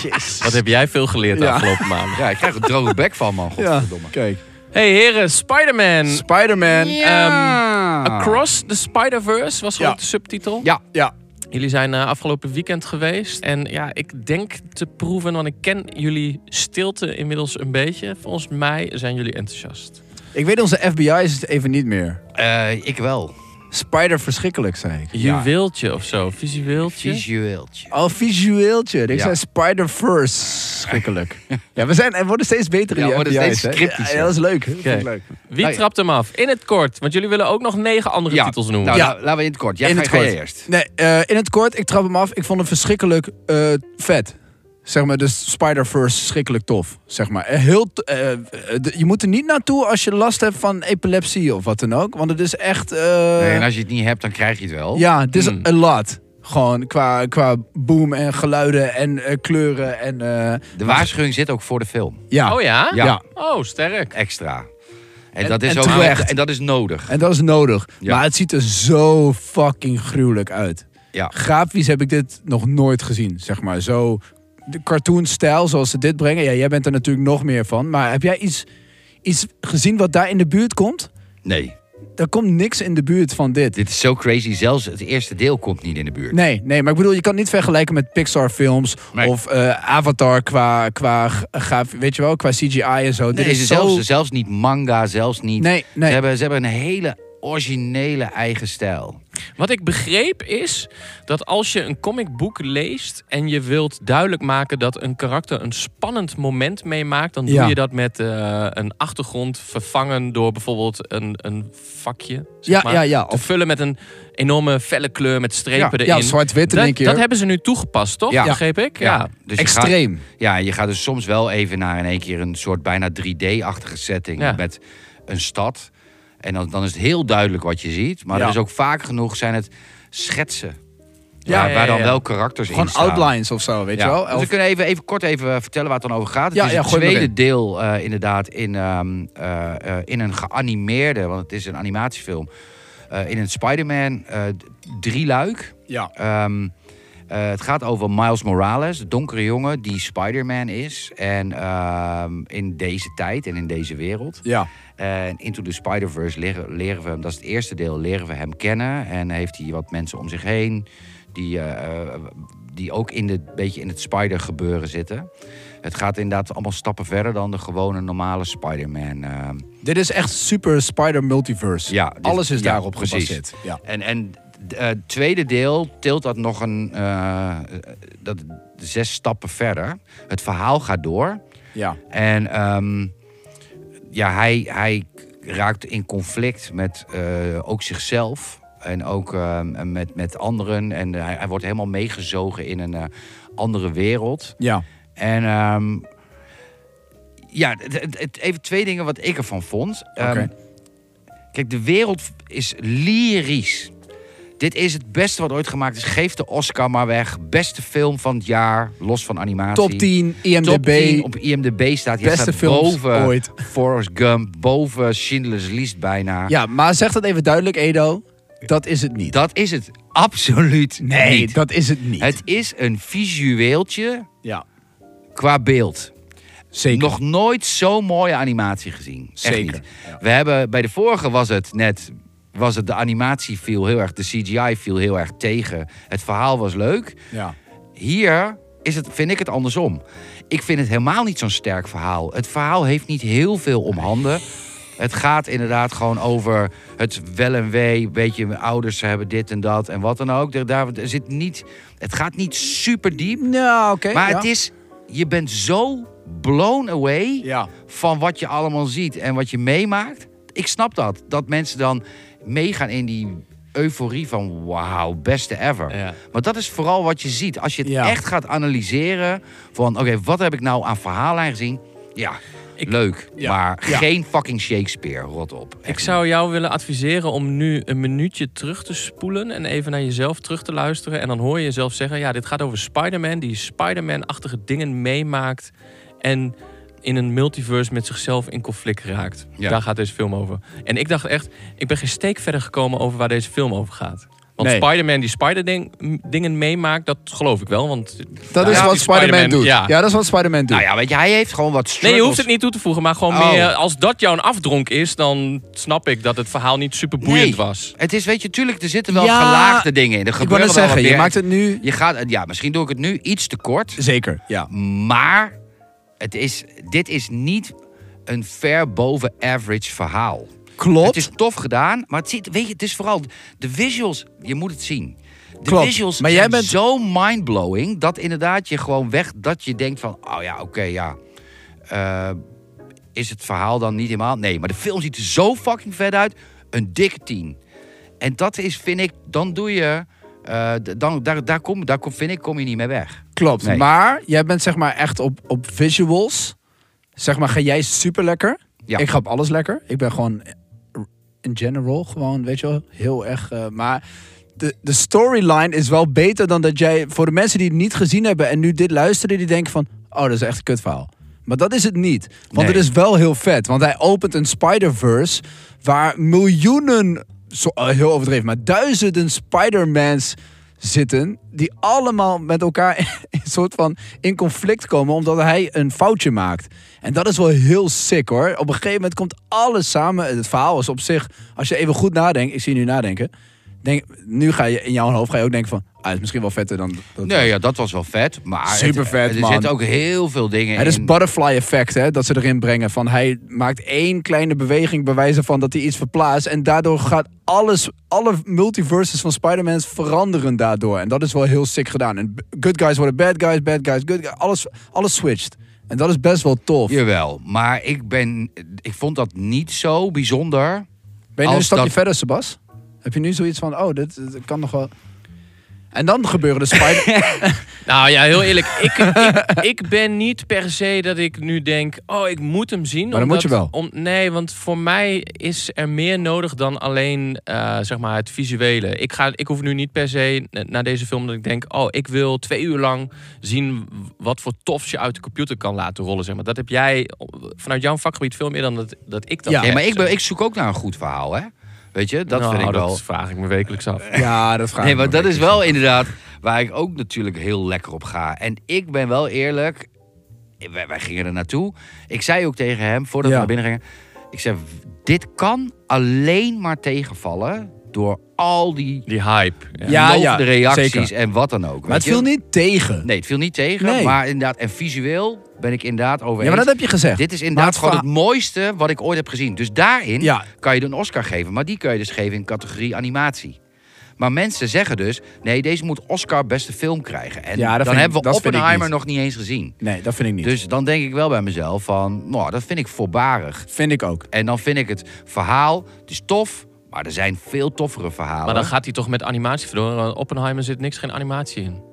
Speaker 4: Jezus.
Speaker 3: Wat heb jij veel geleerd de
Speaker 4: Ja.
Speaker 3: afgelopen maanden?
Speaker 5: Ja, ik krijg een droge bek van, man.
Speaker 4: Ja,
Speaker 5: Godverdomme.
Speaker 4: kijk.
Speaker 3: Hey heren, Spider-Man.
Speaker 5: Hm.
Speaker 4: Spider-Man.
Speaker 3: Ja. Across the Spider-Verse was
Speaker 4: Ja.
Speaker 3: ook de subtitel.
Speaker 5: Ja.
Speaker 4: Ja.
Speaker 3: Jullie zijn eh, afgelopen weekend geweest. En ja, ik denk te proeven, want ik ken jullie stilte inmiddels een beetje. Volgens mij zijn jullie enthousiast.
Speaker 4: Ik weet onze FBI is het even niet meer.
Speaker 5: Eh, ik wel.
Speaker 4: Spider verschrikkelijk, zei ik.
Speaker 3: Juweeltje of zo, visueeltje.
Speaker 5: Visueeltje.
Speaker 4: Oh, visueeltje. Ik
Speaker 5: Ja.
Speaker 4: zei Spider-Verse. Schrikkelijk. ja, we zijn, en worden steeds beter in
Speaker 5: Ja,
Speaker 4: die
Speaker 5: worden
Speaker 4: FBI's,
Speaker 5: steeds
Speaker 4: hè?
Speaker 5: cryptischer.
Speaker 4: Ja, dat is leuk. Dat vind ik
Speaker 3: Oké.
Speaker 4: leuk. Nou
Speaker 3: Wie trapt hem af? In het kort, want jullie willen ook nog negen andere titels noemen.
Speaker 5: Nou,
Speaker 4: Ja.
Speaker 5: la- laten we in het kort. Jij
Speaker 4: In
Speaker 5: ga,
Speaker 4: het
Speaker 5: ga
Speaker 4: kort.
Speaker 5: jij eerst.
Speaker 4: Nee, eh, in het kort, ik trap hem af. Ik vond hem verschrikkelijk eh, vet. Zeg maar, dus Spider-Verse verschrikkelijk tof. Zeg maar. Eh, Heel t- eh, eh, de- je moet er niet naartoe als je last hebt van epilepsie of wat dan ook. Want het is echt... eh,
Speaker 5: Nee, en als je het niet hebt, dan krijg je het wel.
Speaker 4: Ja, het is
Speaker 3: Hmm.
Speaker 4: a lot. Gewoon qua, qua boom en geluiden en eh, kleuren en... eh,
Speaker 5: De waarschuwing zit ook voor de film.
Speaker 4: ja.
Speaker 3: Oh ja?
Speaker 5: Ja.
Speaker 3: Oh, sterk.
Speaker 5: Extra. En,
Speaker 4: En-
Speaker 5: dat is
Speaker 4: en
Speaker 5: ook
Speaker 4: terecht.
Speaker 5: en dat is nodig.
Speaker 4: En dat is nodig.
Speaker 5: Ja.
Speaker 4: Maar het ziet er zo fucking gruwelijk uit.
Speaker 5: Ja.
Speaker 4: Grafisch heb ik dit nog nooit gezien, zeg maar. Zo de cartoonstijl zoals ze dit brengen. Ja, jij bent er natuurlijk nog meer van. Maar heb jij iets, iets gezien wat daar in de buurt komt?
Speaker 5: Nee,
Speaker 4: Er komt niks in de buurt van dit.
Speaker 5: dit is zo crazy. Zelfs het eerste deel komt niet in de buurt.
Speaker 4: Nee, nee, maar ik bedoel, je kan het niet vergelijken met Pixar films
Speaker 5: Nee.
Speaker 4: of eh, Avatar qua, qua g- graf, weet je wel, qua CGI en zo.
Speaker 5: Nee,
Speaker 4: dit is
Speaker 5: ze
Speaker 4: zo...
Speaker 5: zelfs, zelfs niet manga, zelfs niet.
Speaker 4: Nee,
Speaker 5: Ze,
Speaker 4: nee.
Speaker 5: hebben, ze hebben een hele originele eigen stijl.
Speaker 3: Wat ik begreep is dat als je een comicboek leest en je wilt duidelijk maken dat een karakter een spannend moment meemaakt, dan doe
Speaker 4: Ja.
Speaker 3: je dat met eh, een achtergrond vervangen door bijvoorbeeld een, een vakje. zeg
Speaker 4: Ja,
Speaker 3: maar,
Speaker 4: ja, ja.
Speaker 3: Te
Speaker 4: Of,
Speaker 3: vullen met een enorme felle kleur met strepen
Speaker 4: ja,
Speaker 3: erin.
Speaker 4: zwart-wit in één
Speaker 3: dat,
Speaker 4: keer.
Speaker 3: dat hebben ze nu toegepast, toch?
Speaker 5: Ja.
Speaker 3: Begreep ik? Ja.
Speaker 5: dus je gaat-
Speaker 4: Extreem.
Speaker 5: Ja, je gaat dus soms wel even naar in één keer een soort bijna 3D-achtige setting
Speaker 3: Ja.
Speaker 5: met een stad. En dan, dan is het heel duidelijk wat je ziet. Maar
Speaker 4: Ja.
Speaker 5: er is ook vaak genoeg zijn het schetsen.
Speaker 3: Ja,
Speaker 5: waar,
Speaker 3: ja,
Speaker 5: waar
Speaker 3: ja,
Speaker 5: dan
Speaker 3: ja.
Speaker 5: wel karakters in
Speaker 4: Gewoon
Speaker 5: staan.
Speaker 4: outlines of zo, weet
Speaker 5: Ja.
Speaker 4: je wel.
Speaker 5: Dus we
Speaker 4: Of-
Speaker 5: kunnen even, even kort even eh, vertellen waar het dan over gaat. Het
Speaker 4: Ja,
Speaker 5: is
Speaker 4: ja,
Speaker 5: het
Speaker 4: gooi maar
Speaker 5: tweede
Speaker 4: in.
Speaker 5: deel eh, inderdaad in, ehm, eh, eh, in een geanimeerde, want het is een animatiefilm, eh, in een Spider-Man eh, d- drieluik.
Speaker 4: ja.
Speaker 5: Ehm, eh, het gaat over Miles Morales, de donkere jongen die Spider-Man is. En ehm, in deze tijd en in deze wereld.
Speaker 4: ja.
Speaker 5: En Into the Spider-Verse leren, leren we hem, dat is het eerste deel, leren we hem kennen. En heeft hij wat mensen om zich heen die, eh, eh, die ook in de, beetje in het Spider-gebeuren zitten. Het gaat inderdaad allemaal stappen verder dan de gewone normale Spider-Man. eh.
Speaker 4: Dit is echt super Spider Multiverse.
Speaker 5: Ja, dit-
Speaker 4: Alles is
Speaker 5: ja,
Speaker 4: daarop
Speaker 5: precies.
Speaker 4: gebaseerd. Ja.
Speaker 5: En, en eh, het tweede deel tilt dat nog een eh, eh, dat, zes stappen verder. Het verhaal gaat door.
Speaker 4: Ja.
Speaker 5: En ehm, ja, hij, hij raakt in conflict met eh, ook zichzelf en ook ehm, met, met anderen. En eh, hij, hij wordt helemaal meegezogen in een eh, andere wereld.
Speaker 4: Ja.
Speaker 5: En ehm, ja, het- het- het- even twee dingen wat ik ervan vond. Ehm,
Speaker 4: Oké.
Speaker 5: Kijk, de wereld is lyrisch. Dit is het beste wat ooit gemaakt is. Geef de Oscar maar weg. Beste film van het jaar, los van animatie.
Speaker 4: Top 10, IMDb.
Speaker 5: Top 10 op IMDb staat. Je
Speaker 4: Beste
Speaker 5: staat
Speaker 4: films
Speaker 5: boven
Speaker 4: ooit.
Speaker 5: Forrest Gump, boven Schindler's List bijna.
Speaker 4: Ja, maar zeg dat even duidelijk, Edo. Dat is het niet.
Speaker 5: Dat is het absoluut
Speaker 4: nee,
Speaker 5: niet.
Speaker 4: dat is het niet.
Speaker 5: Het is een visueeltje
Speaker 4: ja,
Speaker 5: qua beeld.
Speaker 4: zeker.
Speaker 5: Nog nooit zo'n mooie animatie gezien. Echt
Speaker 4: Zeker,
Speaker 5: niet.
Speaker 4: ja.
Speaker 5: We hebben bij de vorige was het net was het de animatie viel heel erg, de CGI viel heel erg tegen. Het verhaal was leuk.
Speaker 4: Ja.
Speaker 5: Hier is het, vind ik het andersom. Ik vind het helemaal niet zo'n sterk verhaal. Het verhaal heeft niet heel veel om handen. Het gaat inderdaad gewoon over het wel en wee. Weet je, mijn ouders hebben dit en dat en wat dan ook. Daar, daar er zit niet, het gaat niet super diep.
Speaker 4: Nou, oké.
Speaker 5: Maar
Speaker 4: ja.
Speaker 5: het is, je bent zo blown away
Speaker 4: Ja.
Speaker 5: van wat je allemaal ziet en wat je meemaakt. Ik snap dat. Dat mensen dan meegaan in die euforie van wauw, beste ever.
Speaker 3: Ja.
Speaker 5: Maar dat is vooral wat je ziet. Als je het
Speaker 4: Ja.
Speaker 5: echt gaat analyseren van oké, wat heb ik nou aan verhaallijn gezien? Ja,
Speaker 3: Ik-
Speaker 5: Leuk.
Speaker 4: Ja.
Speaker 5: Maar
Speaker 4: Ja.
Speaker 5: geen fucking Shakespeare, rot op.
Speaker 3: Ik zou jou willen adviseren om nu een minuutje terug te spoelen en even naar jezelf terug te luisteren. En dan hoor je jezelf zeggen: ja, dit gaat over Spider-Man, die Spider-Man-achtige dingen meemaakt. En in een multiverse met zichzelf in conflict raakt.
Speaker 5: Ja.
Speaker 3: Daar gaat deze film over. En ik dacht echt, ik ben geen steek verder gekomen over waar deze film over gaat. Want
Speaker 4: Nee.
Speaker 3: Spider-Man die Spider-dingen meemaakt, dat geloof ik wel. Want
Speaker 4: Dat
Speaker 3: Ja,
Speaker 4: is
Speaker 3: die
Speaker 4: wat Spider-Man doet.
Speaker 3: ja.
Speaker 4: Ja. dat is wat Spider-Man doet.
Speaker 5: Nou ja, weet je, hij heeft gewoon wat struggles.
Speaker 3: Nee, je hoeft het niet toe te voegen, maar gewoon
Speaker 5: Oh.
Speaker 3: meer... Als dat jouw afdronk is, dan snap ik dat het verhaal niet super boeiend
Speaker 5: Nee.
Speaker 3: was.
Speaker 5: Het is, weet je, tuurlijk, er zitten wel
Speaker 4: Ja,
Speaker 5: gelaagde dingen in. Er
Speaker 4: ik wil
Speaker 5: gebeuren
Speaker 4: net
Speaker 5: wel
Speaker 4: zeggen,
Speaker 5: wat
Speaker 4: je
Speaker 5: meer.
Speaker 4: maakt het nu...
Speaker 5: Je gaat, ja, misschien doe ik het nu iets te kort.
Speaker 4: Zeker, ja.
Speaker 5: Maar het is, dit is niet een ver boven average verhaal.
Speaker 4: Klopt.
Speaker 5: Het is tof gedaan, maar het, ziet, weet je, het is vooral de visuals. Je moet het zien. De
Speaker 4: Klopt,
Speaker 5: visuals
Speaker 4: maar jij
Speaker 5: zijn
Speaker 4: bent-
Speaker 5: zo mindblowing dat inderdaad je gewoon weg dat je denkt van, oh ja, oké, ja. Eh, is het verhaal dan niet helemaal? Nee, maar de film ziet er zo fucking vet uit. Een dikke tien. En dat is, vind ik, dan doe je, eh, d- dan, daar, daar, kom, daar kom, vind ik, kom je niet mee weg.
Speaker 4: Klopt,
Speaker 5: Nee.
Speaker 4: maar jij bent zeg maar echt op, op visuals. Zeg maar, ga jij super lekker.
Speaker 5: Ja.
Speaker 4: Ik ga op alles lekker. Ik ben gewoon eh, in general gewoon, weet je wel, heel erg. eh, maar de, de storyline is wel beter dan dat jij... Voor de mensen die het niet gezien hebben en nu dit luisteren, die denken van... Oh, dat is echt een kutverhaal. Maar dat is het niet. Want
Speaker 5: Nee.
Speaker 4: het is wel heel vet. Want hij opent een Spider-Verse waar miljoenen, zo, eh, heel overdreven, maar duizenden Spider-Mans zitten. Die allemaal met elkaar in soort van in conflict komen omdat hij een foutje maakt. En dat is wel heel sick hoor. Op een gegeven moment komt alles samen. Het verhaal is op zich, als je even goed nadenkt, ik zie je nu nadenken. Denk, nu ga je in jouw hoofd ga je ook denken van, ah, het is misschien wel vetter dan. Dat
Speaker 5: Nee, ja, dat was wel vet. Maar het-
Speaker 4: Supervet,
Speaker 5: er
Speaker 4: man.
Speaker 5: zitten ook heel veel dingen
Speaker 4: Het is
Speaker 5: in.
Speaker 4: butterfly effect, hè, dat ze erin brengen. Van hij maakt één kleine beweging bewijzen van dat hij iets verplaatst. En daardoor gaat alles, alle multiverses van Spider-Man veranderen daardoor. En dat is wel heel sick gedaan. En b- good guys worden bad guys, bad guys, good guys. Alles, alles switcht. En dat is best wel tof.
Speaker 5: Jawel, maar ik, ben, ik vond dat niet zo
Speaker 4: Nou,
Speaker 5: bijzonder.
Speaker 4: ben je nu een
Speaker 5: als
Speaker 4: stapje
Speaker 5: dat-
Speaker 4: verder, Sebas? Heb je nu zoiets van, oh, dit, dit kan nog wel... En dan gebeuren de spider...
Speaker 3: Nou ja, heel eerlijk. ik, ik, ik ben niet per se dat ik nu denk... Oh, ik moet hem zien.
Speaker 4: Maar dan moet je wel.
Speaker 3: Om, nee, want voor mij is er meer nodig dan alleen eh, zeg maar het visuele. Ik, ga, ik hoef nu niet per se na- naar deze film dat ik denk... Oh, ik wil twee uur lang zien wat voor tofs je uit de computer kan laten rollen. Zeg maar. Dat heb jij eh, vanuit jouw vakgebied veel meer dan dat, dat ik dat
Speaker 4: Ja.
Speaker 3: heb.
Speaker 5: Nee, maar ik,
Speaker 3: zeg
Speaker 5: ben, ik zoek ook naar een goed verhaal, hè? Weet je, dat
Speaker 3: Nou,
Speaker 5: vind ik wel.
Speaker 3: Dat vraag ik me wekelijks af.
Speaker 4: ja, dat gaat
Speaker 5: Nee, maar dat is wel inderdaad waar ik ook natuurlijk heel lekker op ga. En ik ben wel eerlijk, wij, wij gingen er naartoe. Ik zei ook tegen hem, voordat
Speaker 4: Ja.
Speaker 5: we naar binnen gingen... Ik zei, dit kan alleen maar tegenvallen door al die
Speaker 3: Die hype. Ja.
Speaker 4: Ja, ja,
Speaker 5: lovende reacties
Speaker 4: zeker.
Speaker 5: en wat dan ook.
Speaker 4: Maar het viel niet tegen.
Speaker 5: Nee, het viel niet tegen.
Speaker 4: Nee.
Speaker 5: Maar inderdaad, en visueel ben ik inderdaad over
Speaker 4: Ja, maar
Speaker 5: eens.
Speaker 4: dat heb je gezegd.
Speaker 5: Dit is
Speaker 4: Maar
Speaker 5: inderdaad
Speaker 4: het
Speaker 5: gewoon
Speaker 4: verhaal-
Speaker 5: het mooiste wat ik ooit heb gezien. Dus daarin
Speaker 4: Ja.
Speaker 5: kan je een Oscar geven. Maar die kun je dus geven in categorie animatie. Maar mensen zeggen dus, nee, deze moet Oscar beste film krijgen. En
Speaker 4: Ja, dat
Speaker 5: dan
Speaker 4: vind ik-
Speaker 5: hebben we
Speaker 4: dat vind ik
Speaker 5: Oppenheimer
Speaker 4: niet.
Speaker 5: nog niet eens gezien.
Speaker 4: Nee, dat vind ik niet.
Speaker 5: Dus dan denk ik wel bij mezelf van, nou, dat vind ik voorbarig.
Speaker 4: Vind ik ook.
Speaker 5: En dan vind ik het verhaal, het is tof, maar er zijn veel toffere verhalen.
Speaker 3: Maar dan gaat hij toch met animatie verloren. Want Oppenheimer zit niks, geen animatie in.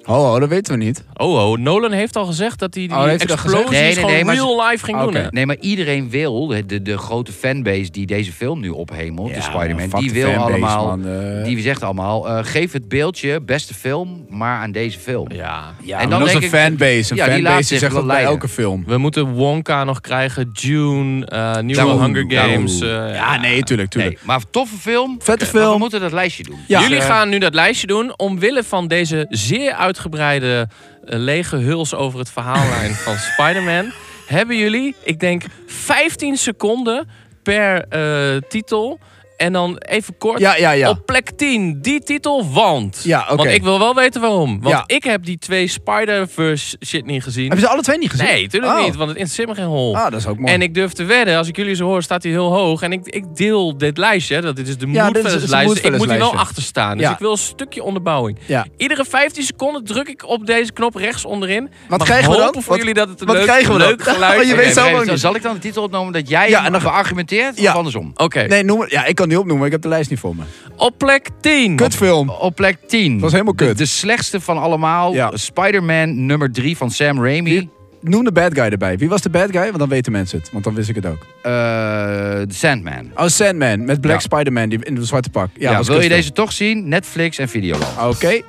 Speaker 4: Ho,
Speaker 5: oh,
Speaker 4: ho, dat weten we niet.
Speaker 3: Oh, oh, Nolan heeft al gezegd dat hij die
Speaker 4: Oh, heeft hij dat
Speaker 3: explosies
Speaker 4: gezegd?
Speaker 5: Nee, nee,
Speaker 3: gewoon
Speaker 5: nee, maar ze-
Speaker 3: real life ging
Speaker 4: Oké.
Speaker 3: doen. hè?
Speaker 5: Nee, maar iedereen wil, de, de, de grote fanbase die deze film nu ophemelt, de
Speaker 4: Ja,
Speaker 5: Spider-Man,
Speaker 4: fuck
Speaker 5: die
Speaker 4: de
Speaker 5: wil
Speaker 4: fanbase,
Speaker 5: allemaal,
Speaker 4: man, eh.
Speaker 5: die zegt allemaal, eh, geef het beeldje, beste film, maar aan deze film.
Speaker 3: Ja.
Speaker 4: en
Speaker 5: En
Speaker 4: dan
Speaker 5: dan
Speaker 4: is
Speaker 5: denk
Speaker 4: een
Speaker 5: ik-
Speaker 4: fanbase. Een
Speaker 5: Ja, die laat
Speaker 4: fanbase die
Speaker 5: zich
Speaker 4: zegt
Speaker 5: wel
Speaker 4: dat bij
Speaker 5: leiden.
Speaker 4: elke film.
Speaker 3: We moeten Wonka nog krijgen, Dune, eh nieuwe
Speaker 5: Daarom,
Speaker 3: Hunger
Speaker 5: daarom.
Speaker 3: Games. eh,
Speaker 4: Ja, nee, tuurlijk, tuurlijk.
Speaker 5: Nee, maar toffe film. Eh,
Speaker 4: Vette
Speaker 5: Maar
Speaker 4: film.
Speaker 5: we moeten dat lijstje doen.
Speaker 4: Ja.
Speaker 3: Jullie
Speaker 5: Dus, eh,
Speaker 3: gaan nu dat lijstje doen omwille van deze zeer uitgebreide eh, lege huls over het verhaallijn van Spider-Man. Hebben jullie, ik denk, 15 seconden per eh, titel. En dan even kort
Speaker 4: Ja, ja, ja.
Speaker 3: op plek 10 die titel, want.
Speaker 4: Ja, oké.
Speaker 3: Want ik wil wel weten waarom. Want
Speaker 4: Ja.
Speaker 3: ik heb die twee Spider-Verse shit niet gezien.
Speaker 4: Heb je ze alle twee niet gezien?
Speaker 3: Nee, tuurlijk
Speaker 4: Oh.
Speaker 3: niet, want het interesseert me geen hol.
Speaker 4: Ah, dat is ook mooi.
Speaker 3: En ik durf te wedden, als ik jullie zo hoor, staat hij heel hoog. En ik, ik deel dit lijstje, hè, dat dit is de
Speaker 4: dit is-
Speaker 3: moedvellers
Speaker 4: het is een
Speaker 3: lijst. Ik moet hier wel
Speaker 4: moedvellerslijstje.
Speaker 3: achter staan. Dus
Speaker 4: Ja.
Speaker 3: ik wil een stukje onderbouwing.
Speaker 4: Ja.
Speaker 3: Iedere 15 seconden druk ik op deze knop rechts onderin.
Speaker 4: Wat
Speaker 3: Mag
Speaker 4: krijgen we dan?
Speaker 3: hopen voor
Speaker 4: Wat-
Speaker 3: jullie dat het een
Speaker 4: wat
Speaker 3: leuk,
Speaker 4: krijgen we dan?
Speaker 3: leuk geluid
Speaker 4: Oh, je
Speaker 3: is.
Speaker 5: oké,
Speaker 4: weet zelf
Speaker 5: oké,
Speaker 4: ook
Speaker 5: dan
Speaker 4: niet.
Speaker 5: zal ik dan de titel opnomen dat jij
Speaker 4: Ja,
Speaker 5: hem
Speaker 4: en dan-
Speaker 5: beargumenteert
Speaker 4: Ja.
Speaker 5: of andersom?
Speaker 3: Oké,
Speaker 4: Nee, noem maar. Ja, ik kan niet opnoemen. Ik heb de lijst niet voor me.
Speaker 3: op plek 10.
Speaker 4: Kutfilm.
Speaker 5: Op plek 10.
Speaker 4: was helemaal
Speaker 5: De-
Speaker 4: kut.
Speaker 5: De, slechtste van allemaal.
Speaker 4: Ja.
Speaker 5: Spider-Man nummer 3 van Sam Raimi.
Speaker 4: noem de bad guy erbij. Wie was de bad guy? Want dan weten mensen het. Want dan wist ik het ook.
Speaker 5: Eh, The Sandman.
Speaker 4: Oh, Sandman. Met Black
Speaker 5: Ja.
Speaker 4: Spider-Man die in het zwarte pak. Ja,
Speaker 5: Ja,
Speaker 4: was
Speaker 5: wil je
Speaker 4: custom.
Speaker 5: deze toch zien? Netflix en Videoland.
Speaker 4: Oké.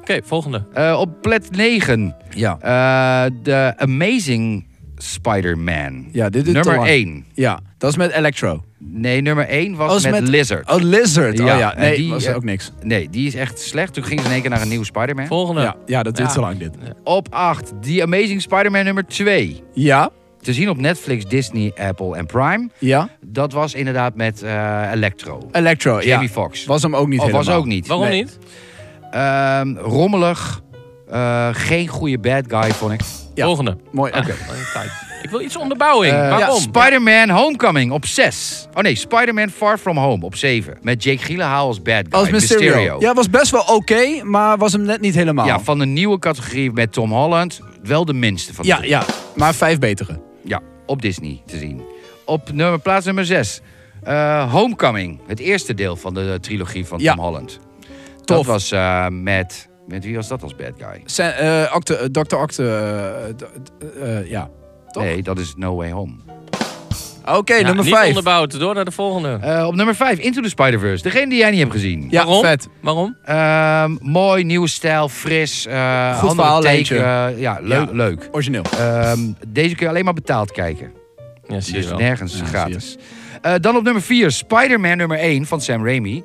Speaker 3: Oké, volgende.
Speaker 5: Eh, op plek 9.
Speaker 4: Ja.
Speaker 5: de Amazing Spider-Man.
Speaker 4: Ja, dit is te
Speaker 5: nummer
Speaker 4: lang.
Speaker 5: 1.
Speaker 4: Ja, dat is met Electro.
Speaker 5: Nee, nummer 1 was
Speaker 4: Oh, is
Speaker 5: met,
Speaker 4: met-
Speaker 5: Lizard.
Speaker 4: Oh, Lizard.
Speaker 5: Ja,
Speaker 4: oh ja.
Speaker 5: en
Speaker 4: Nee,
Speaker 5: die,
Speaker 4: was
Speaker 5: eh,
Speaker 4: ook niks.
Speaker 5: Nee, die is echt slecht. Toen ging ze in één keer naar een nieuwe Spider-Man.
Speaker 3: Volgende.
Speaker 4: Ja, ja dat duurt
Speaker 3: Ja.
Speaker 4: te lang dit.
Speaker 5: Op 8. The Amazing Spider-Man nummer 2.
Speaker 4: Ja,
Speaker 5: Te zien op Netflix, Disney, Apple en Prime.
Speaker 4: ja.
Speaker 5: Dat was inderdaad met eh, Electro.
Speaker 4: Electro, Eh, ja.
Speaker 5: Jamie Foxx.
Speaker 4: Was hem ook niet
Speaker 5: Of Oh, was
Speaker 4: helemaal.
Speaker 5: ook niet.
Speaker 3: Waarom
Speaker 4: Nee.
Speaker 3: niet?
Speaker 5: Ehm, rommelig. Eh, geen goede bad guy, vond ik.
Speaker 4: Ja.
Speaker 3: Volgende.
Speaker 4: Mooi,
Speaker 3: Ah. Ja,
Speaker 4: oké.
Speaker 3: lange tijd. Ik wil iets onderbouwing.
Speaker 5: Eh,
Speaker 3: Waarom?
Speaker 5: ja, Spider-Man Homecoming op 6. Oh nee, Spider-Man Far From Home op 7. Met Jake Gyllenhaal als bad guy.
Speaker 4: Oh, Als Mysterio. Ja, was best wel oké, maar was hem net niet helemaal.
Speaker 5: Ja, van de nieuwe categorie met Tom Holland. Wel de minste van de
Speaker 4: ja,
Speaker 5: drie.
Speaker 4: ja. Maar vijf betere.
Speaker 5: Ja, op Disney te zien. Op nummer, plaats nummer 6. eh, Homecoming. Het eerste deel van de trilogie van
Speaker 4: Ja.
Speaker 5: Tom Holland. Dat
Speaker 4: Tof.
Speaker 5: was eh, met... Met wie was dat als bad guy?
Speaker 4: Sa- eh, Octo- eh, Dr. Octo... eh, d- d- eh, ja. Toch?
Speaker 5: Nee, dat is No Way Home.
Speaker 4: Oké,
Speaker 3: Ja,
Speaker 4: nummer
Speaker 3: niet
Speaker 4: vijf.
Speaker 3: onderbouwd. Door naar de volgende.
Speaker 5: Eh, op nummer 5, Into the Spider-Verse. Degene die jij niet hebt gezien.
Speaker 4: Ja,
Speaker 3: Waarom?
Speaker 4: vet.
Speaker 3: Waarom?
Speaker 5: Ehm, mooi, nieuwe stijl, fris. eh
Speaker 4: Goed
Speaker 5: andere
Speaker 4: verhaallijntje.
Speaker 5: take, eh, ja, leuk.
Speaker 4: Ja.
Speaker 5: leuk.
Speaker 4: Origineel.
Speaker 5: Ehm, deze kun je alleen maar betaald kijken.
Speaker 3: Ja, zie
Speaker 5: Dus
Speaker 3: je wel.
Speaker 5: nergens
Speaker 4: Ja,
Speaker 5: gratis. Eh, dan op nummer 4, Spider-Man nummer 1 van Sam Raimi.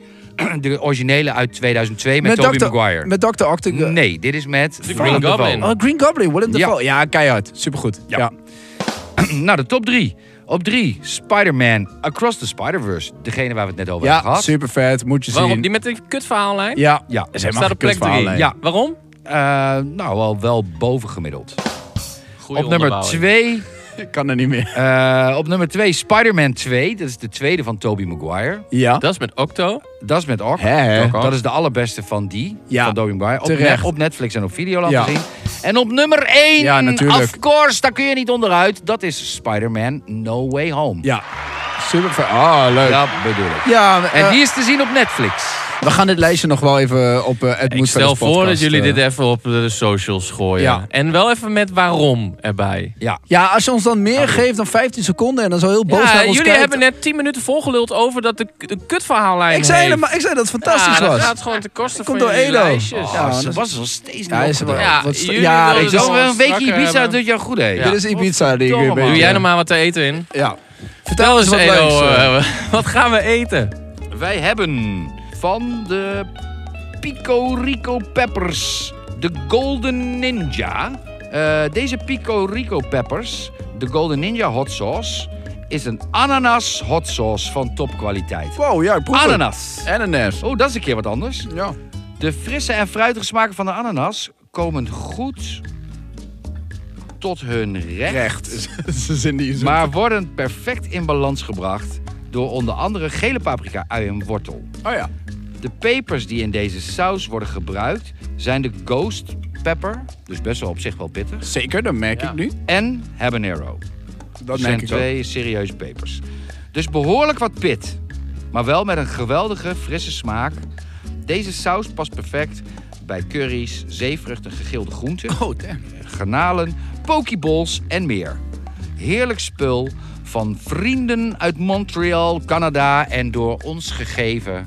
Speaker 5: De originele uit 2002 met, Tobey
Speaker 4: Dr.
Speaker 5: Maguire.
Speaker 4: Met Dr. Octo...
Speaker 5: Nee, dit is met
Speaker 3: Green
Speaker 5: Willem Dafoe.
Speaker 3: Goblin.
Speaker 4: Oh, Green Goblin, Willem
Speaker 5: Ja.
Speaker 4: Dafoe. Ja, keihard. Supergoed.
Speaker 5: Ja.
Speaker 4: Ja.
Speaker 5: nou, de top 3. Op 3, Spider-Man Across the Spider-Verse. Degene waar we het net over
Speaker 4: Ja,
Speaker 5: hebben gehad.
Speaker 4: super vet. Moet je
Speaker 3: Waarom?
Speaker 4: zien.
Speaker 3: Die met die kutverhaallijn?
Speaker 4: Ja.
Speaker 5: Ja,
Speaker 4: Is helemaal
Speaker 3: Staat op
Speaker 4: geen
Speaker 3: plek
Speaker 4: kutverhaal,
Speaker 3: 3.
Speaker 4: hè.
Speaker 5: Ja.
Speaker 3: Waarom?
Speaker 5: Eh, nou, wel, wel bovengemiddeld.
Speaker 3: Goeie
Speaker 5: op nummer
Speaker 3: onderbouwing.
Speaker 5: 2,
Speaker 4: Ik kan er niet meer.
Speaker 5: eh op nummer 2 Spider-Man 2. Dat is de tweede van Tobey Maguire.
Speaker 4: Ja.
Speaker 3: Dat is met Octo.
Speaker 5: Dat is met Ock.
Speaker 4: Hè, hè?
Speaker 5: Ock. Dat is de allerbeste van die.
Speaker 4: Ja,
Speaker 5: Van Tobey Maguire. Op,
Speaker 4: terecht.
Speaker 5: net- op Netflix en op Videoland
Speaker 4: Ja.
Speaker 5: te zien. En op nummer 1,
Speaker 4: Ja, natuurlijk.
Speaker 5: of course, daar kun je niet onderuit. Dat is Spider-Man No Way Home.
Speaker 4: Ja. Super vet. Ah, leuk. Ja.
Speaker 5: Dat bedoel ik.
Speaker 4: eh,
Speaker 5: En die is te zien op Netflix.
Speaker 4: we gaan dit lijstje nog wel even op eh het
Speaker 3: Ik stel voor dat jullie dit
Speaker 4: eh,
Speaker 3: even op de socials gooien.
Speaker 4: Ja.
Speaker 3: En wel even met waarom erbij.
Speaker 5: Ja.
Speaker 4: Ja, als je ons dan meer geeft dan 15 seconden en dan zo heel boos
Speaker 3: Ah, Ja,
Speaker 4: naar ons
Speaker 3: jullie
Speaker 4: kijkt-
Speaker 3: hebben net 10 minuten volgeluld over dat de, de kutverhaallijn
Speaker 4: Ik zei,
Speaker 3: heeft.
Speaker 4: helemaal, ik zei dat het fantastisch
Speaker 3: ja, dat
Speaker 4: was.
Speaker 3: gaat gewoon ten koste van
Speaker 4: Komt door
Speaker 3: jullie
Speaker 4: Edo.
Speaker 3: lijstjes.
Speaker 4: Ja,
Speaker 5: Ja,
Speaker 4: dat
Speaker 5: Oh, ze
Speaker 4: is-
Speaker 5: was nog steeds niet
Speaker 4: Ja, is
Speaker 5: opgedragen.
Speaker 4: wel-
Speaker 3: Ja,
Speaker 4: wat-
Speaker 3: jullie
Speaker 4: ja,
Speaker 3: wilden
Speaker 4: ik
Speaker 5: Zo,
Speaker 4: zou
Speaker 3: wel
Speaker 5: wel een weekje
Speaker 3: strakker
Speaker 5: Ibiza
Speaker 3: hebben.
Speaker 5: doet jou goed, hè?
Speaker 4: eh, Dit is Ibiza die ik weer
Speaker 5: Godverdomme,
Speaker 4: ben.
Speaker 3: Doe
Speaker 5: man.
Speaker 3: jij nog maar wat te eten in.
Speaker 4: Ja.
Speaker 3: Vertel eens,
Speaker 4: wat
Speaker 3: Edo,
Speaker 4: leuks, eh.
Speaker 3: eh, wat gaan we eten?
Speaker 5: Wij hebben van de Pico Rico Peppers de Golden Ninja. Eh, deze Pico Rico Peppers, de Golden Ninja hot sauce, is een ananas hot sauce van topkwaliteit.
Speaker 4: Wow, ja, ik proef het.
Speaker 5: Ananas.
Speaker 4: Ananas.
Speaker 5: Oh, dat is een keer wat anders.
Speaker 4: Ja.
Speaker 5: De frisse en fruitige smaken van de ananas komen goed tot hun recht.
Speaker 4: Recht. is de zin die je zoekt.
Speaker 5: maar worden perfect in balans gebracht door onder andere gele paprika, ui en wortel.
Speaker 4: Oh ja.
Speaker 5: De pepers die in deze saus worden gebruikt zijn de ghost pepper, dus best wel op zich wel pittig,
Speaker 4: Zeker, dat merk ik nu.
Speaker 5: en habanero.
Speaker 4: Dat
Speaker 5: Dat zijn
Speaker 4: merk ik ook.
Speaker 5: twee serieuze pepers. Dus behoorlijk wat pit, maar wel met een geweldige frisse smaak. Deze saus past perfect bij curry's, zeevruchten, gegilde groenten,
Speaker 4: Oh, damn.
Speaker 5: granalen, pokeballs en meer. Heerlijk spul van vrienden uit Montreal, Canada en door ons gegeven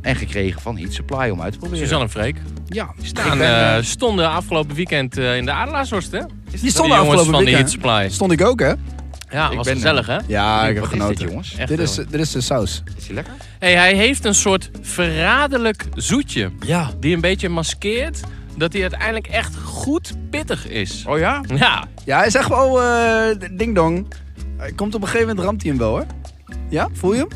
Speaker 5: en gekregen van Heat Supply om uit te proberen.
Speaker 3: Suzanne en Freek.
Speaker 5: Ja, staan.
Speaker 3: Staan, eh, stonden afgelopen weekend eh, in de Adelaarshorst, hè?
Speaker 4: Die stonden
Speaker 3: de jongens
Speaker 4: afgelopen
Speaker 3: van de Heat
Speaker 4: weekend.
Speaker 3: Supply.
Speaker 4: Stond ik ook, hè?
Speaker 3: Ja,
Speaker 5: Ik
Speaker 3: was
Speaker 5: ben
Speaker 3: gezellig, hè?
Speaker 4: Ja, ik heb
Speaker 5: Wat is dit,
Speaker 4: genoten.
Speaker 5: jongens?
Speaker 3: Echt,
Speaker 4: Dit is,
Speaker 3: jongen.
Speaker 4: dit is de saus.
Speaker 5: Is die lekker?
Speaker 3: Hey, hij heeft een soort verraderlijk zoetje.
Speaker 4: Ja.
Speaker 3: Die een beetje maskeert dat hij uiteindelijk echt goed pittig is.
Speaker 5: Oh ja?
Speaker 3: Ja,
Speaker 4: Ja, hij is echt wel eh, ding-dong. Hij komt op een gegeven moment, ramt hij hem wel, hoor. Ja, voel je hem?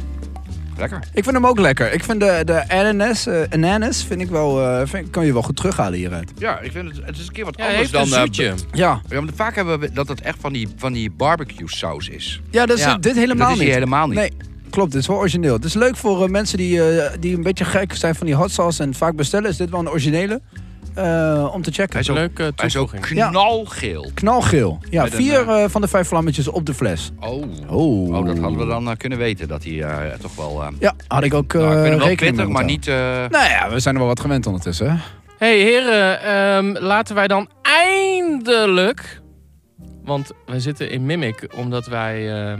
Speaker 5: Lekker.
Speaker 4: Ik vind hem ook lekker. Ik vind de, de ananas, eh, ananas vind ik wel, eh, vind- kan je wel goed terughalen hieruit.
Speaker 5: Ja, ik vind het, het is een keer wat
Speaker 3: hij
Speaker 5: anders
Speaker 3: heeft
Speaker 5: dan...
Speaker 3: een
Speaker 5: eh,
Speaker 3: zoetje.
Speaker 4: Ja,
Speaker 5: ja, maar vaak hebben we dat het echt van die, van die barbecue saus is.
Speaker 4: ja dat is
Speaker 3: Ja,
Speaker 4: dit helemaal
Speaker 5: dat is
Speaker 4: niet.
Speaker 5: hier helemaal niet.
Speaker 4: Nee, klopt. Dit is wel origineel. Het is leuk voor eh, mensen die, eh, die een beetje gek zijn van die hot sauce en vaak bestellen. Is dit wel een originele eh, om te checken.
Speaker 5: Hij is ook,
Speaker 3: Leuke
Speaker 5: hij is ook
Speaker 3: toevoeging.
Speaker 4: Ja.
Speaker 5: knalgeel.
Speaker 4: Knalgeel. Ja,
Speaker 5: Met een,
Speaker 4: vier
Speaker 5: eh,
Speaker 4: eh, van de vijf vlammetjes op de fles.
Speaker 5: Oh.
Speaker 4: Oh,
Speaker 5: Oh, dat hadden we dan eh, kunnen weten. Dat hij eh, toch wel... eh
Speaker 4: Ja, had ik ook eh
Speaker 5: nou, ik vind hem wel
Speaker 4: rekening mee
Speaker 5: pittig,
Speaker 4: moeten
Speaker 5: maar
Speaker 4: houden.
Speaker 5: niet... eh,
Speaker 4: Nou ja, we zijn er wel wat gewend ondertussen. hè?
Speaker 3: hey, heren, ehm, laten wij dan eindelijk Want wij zitten in Mimic omdat wij eh,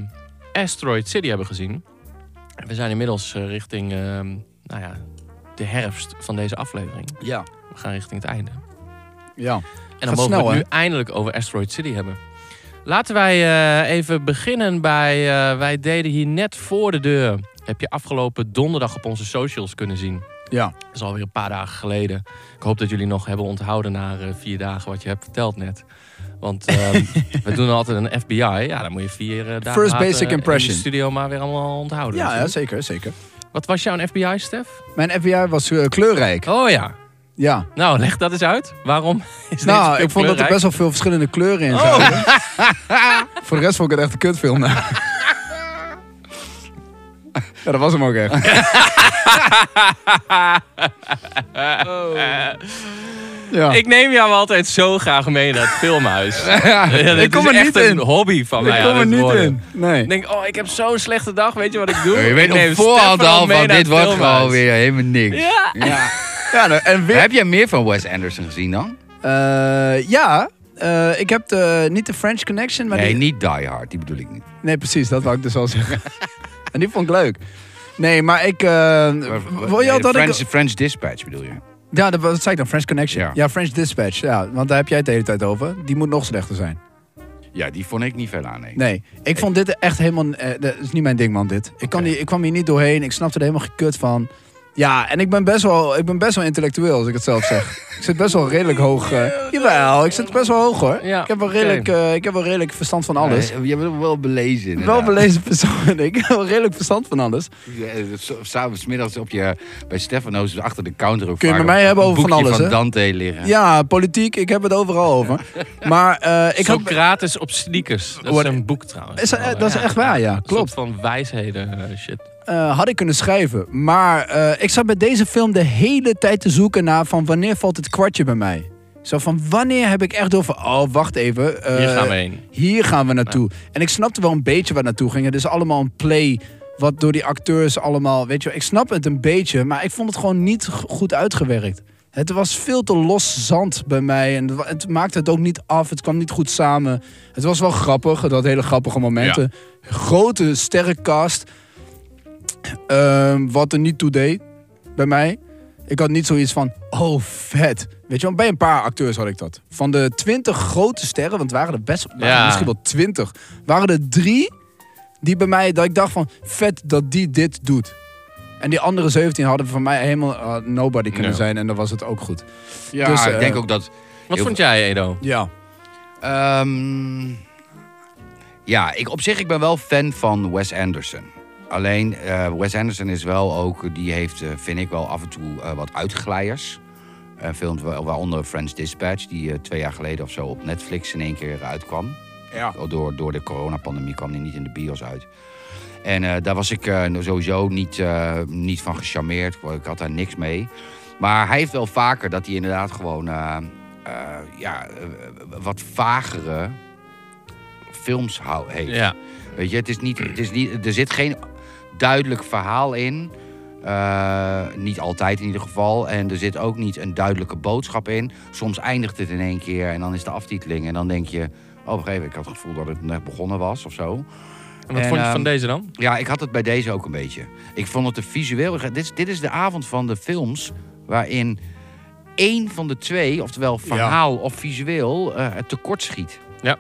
Speaker 3: Asteroid City hebben gezien. En We zijn inmiddels eh, richting eh, nou ja, de herfst van deze aflevering.
Speaker 4: Ja.
Speaker 3: We gaan richting het einde.
Speaker 4: Ja.
Speaker 3: En dan
Speaker 4: Gaat
Speaker 3: mogen we
Speaker 4: snel,
Speaker 3: het nu eindelijk over Asteroid City hebben. Laten wij eh, even beginnen bij... eh, wij deden hier net voor de deur... heb je afgelopen donderdag op onze socials kunnen zien.
Speaker 4: Ja.
Speaker 3: Dat is alweer een paar dagen geleden. Ik hoop dat jullie nog hebben onthouden na eh, vier dagen wat je hebt verteld net. Want ehm, we doen altijd een FBI. Ja, dan moet je vier eh, dagen
Speaker 4: First
Speaker 3: later
Speaker 4: basic
Speaker 3: in de
Speaker 4: impression.
Speaker 3: studio maar weer allemaal onthouden.
Speaker 4: Ja, ja,
Speaker 3: natuurlijk.
Speaker 4: zeker, zeker.
Speaker 3: Wat was jouw FBI, Stef?
Speaker 4: Mijn FBI was eh, kleurrijk.
Speaker 3: Oh ja.
Speaker 4: Ja.
Speaker 3: Nou, leg dat eens uit. Waarom is
Speaker 4: Nou,
Speaker 3: dit
Speaker 4: ik vond dat er best wel veel verschillende kleuren in zaten. Voor de rest vond ik het echt een kutfilm. ja, dat was hem ook echt. Oh. Ja.
Speaker 3: Ik neem jou altijd zo graag mee naar het filmhuis. ja, dit
Speaker 4: ik kom
Speaker 3: is
Speaker 4: er
Speaker 3: echt
Speaker 4: niet
Speaker 3: een
Speaker 4: in.
Speaker 3: hobby van mij. aan
Speaker 4: ik kom er
Speaker 3: het
Speaker 4: niet
Speaker 3: worden.
Speaker 4: in. Nee.
Speaker 3: Ik denk, oh, ik heb zo'n slechte dag. Weet je wat ik doe?
Speaker 5: Je
Speaker 3: Ik
Speaker 5: weet
Speaker 3: neem
Speaker 5: op voorhand
Speaker 3: Stefan
Speaker 5: al
Speaker 3: mee
Speaker 5: van
Speaker 3: naar
Speaker 5: dit
Speaker 3: het
Speaker 5: wordt
Speaker 3: filmhuis.
Speaker 5: gewoon weer helemaal niks.
Speaker 3: Ja.
Speaker 4: Ja, nou, en weer.
Speaker 5: Heb jij meer van Wes Anderson gezien dan?
Speaker 4: Eh, ja, eh, ik heb de, niet de French Connection, maar
Speaker 5: nee,
Speaker 4: die, Eh,
Speaker 5: niet Die Hard, die bedoel ik niet.
Speaker 4: nee, precies, dat wou ik dus al zeggen. en die vond ik leuk. Nee, maar ik. eh, wil je
Speaker 5: Nee,
Speaker 4: al dat
Speaker 5: French,
Speaker 4: ik.
Speaker 5: French Dispatch bedoel je?
Speaker 4: Ja, dat, dat zei ik dan, French Connection. Ja.
Speaker 5: Ja.
Speaker 4: French Dispatch, ja, want daar heb jij het de hele tijd over. Die moet nog slechter zijn.
Speaker 5: Ja, die vond ik niet veel aan, nee.
Speaker 4: Nee, ik vond dit echt helemaal. eh, dat is niet mijn ding, man. Dit. Ik, kan
Speaker 5: Oké.
Speaker 4: hier, ik kwam hier niet doorheen. Ik snapte er helemaal gekut van. Ja, en ik ben best wel, ik ben best wel intellectueel, als ik het zelf zeg. ik zit best wel redelijk hoog. eh, jawel, ik zit best wel hoog hoor.
Speaker 3: Ja,
Speaker 4: ik, heb wel
Speaker 3: oké.
Speaker 4: redelijk, eh, ik heb wel redelijk verstand van alles.
Speaker 5: Nee, Eh, je bent wel belezen.
Speaker 4: wel
Speaker 5: inderdaad.
Speaker 4: belezen persoon. ik heb wel redelijk verstand van alles.
Speaker 5: Ja, eh, s- S'avonds middags op je, bij Stefano's dus achter de counter. ook
Speaker 4: Kun je
Speaker 5: vaak
Speaker 4: met mij
Speaker 5: een
Speaker 4: hebben over van
Speaker 5: boekje
Speaker 4: alles,
Speaker 5: van
Speaker 4: hè?
Speaker 5: Dante liggen.
Speaker 4: Ja, politiek, ik heb het overal over. Maar eh, ik heb.
Speaker 3: Socrates op sneakers. Dat is
Speaker 4: What-
Speaker 3: een boek trouwens. Oh,
Speaker 4: Is dat- eh, dat is echt waar, ja,
Speaker 3: Een
Speaker 4: klopt.
Speaker 3: soort van wijsheden eh, shit.
Speaker 4: eh, had ik kunnen schrijven. Maar eh, ik zat bij deze film de hele tijd te zoeken naar van wanneer valt het kwartje bij mij. Zo van wanneer heb ik echt door van, oh wacht even. eh,
Speaker 3: Hier gaan we heen.
Speaker 4: Hier gaan we naartoe. En ik snapte wel een beetje waar naartoe ging. Het is allemaal een play wat door die acteurs allemaal, weet je wel, Ik snap het een beetje, maar ik vond het gewoon niet g- goed uitgewerkt. Het was veel te los zand bij mij. En het wa- het maakte het ook niet af. Het kwam niet goed samen. Het was wel grappig. Het had hele grappige momenten. Grote sterrenkast. Ehm, wat er niet toe deed bij mij. Ik had niet zoiets van, oh vet. Weet je wel, bij een paar acteurs had ik dat. Van de twintig grote sterren, want het waren er best, waren
Speaker 3: Ja.
Speaker 4: misschien wel twintig. Waren er drie die bij mij, dat ik dacht van, vet dat die dit doet. En die andere 17 hadden van mij helemaal eh, nobody kunnen
Speaker 5: Ja.
Speaker 4: zijn. En dan was het ook goed.
Speaker 5: Ja,
Speaker 4: Dus, eh,
Speaker 5: ik denk ook dat...
Speaker 3: Wat
Speaker 5: heel
Speaker 3: vond jij, Edo?
Speaker 4: Ja.
Speaker 5: Ehm, ja, ik, op zich, ik ben wel fan van Wes Anderson. Alleen, eh, Wes Anderson is wel ook... Die heeft, eh, vind ik wel, af en toe eh, wat uitglijers. Eh films wa- waaronder French Dispatch... die eh, twee jaar geleden of zo op Netflix in één keer uitkwam.
Speaker 4: Ja.
Speaker 5: Door, door de coronapandemie kwam die niet in de bios uit. En eh, daar was ik eh, sowieso niet, eh, niet van gecharmeerd. Ik had daar niks mee. Maar hij heeft wel vaker dat hij inderdaad gewoon... eh, eh, ja, eh, wat vagere films hou- heeft.
Speaker 3: Ja.
Speaker 5: Weet je, het is niet, het is niet, er zit geen duidelijk verhaal in. Eh, niet altijd in ieder geval. En er zit ook niet een duidelijke boodschap in. Soms eindigt het in één keer en dan is de aftiteling. En dan denk je, oh, op een gegeven moment, ik had het gevoel dat het net begonnen was of zo.
Speaker 3: En wat
Speaker 5: En,
Speaker 3: vond je van
Speaker 5: ehm,
Speaker 3: deze dan?
Speaker 5: Ja, ik had het bij deze ook een beetje. Ik vond het er visueel... Dit, is- dit is de avond van de films waarin één van de twee, oftewel verhaal of visueel, eh, het tekort schiet.
Speaker 3: Ja.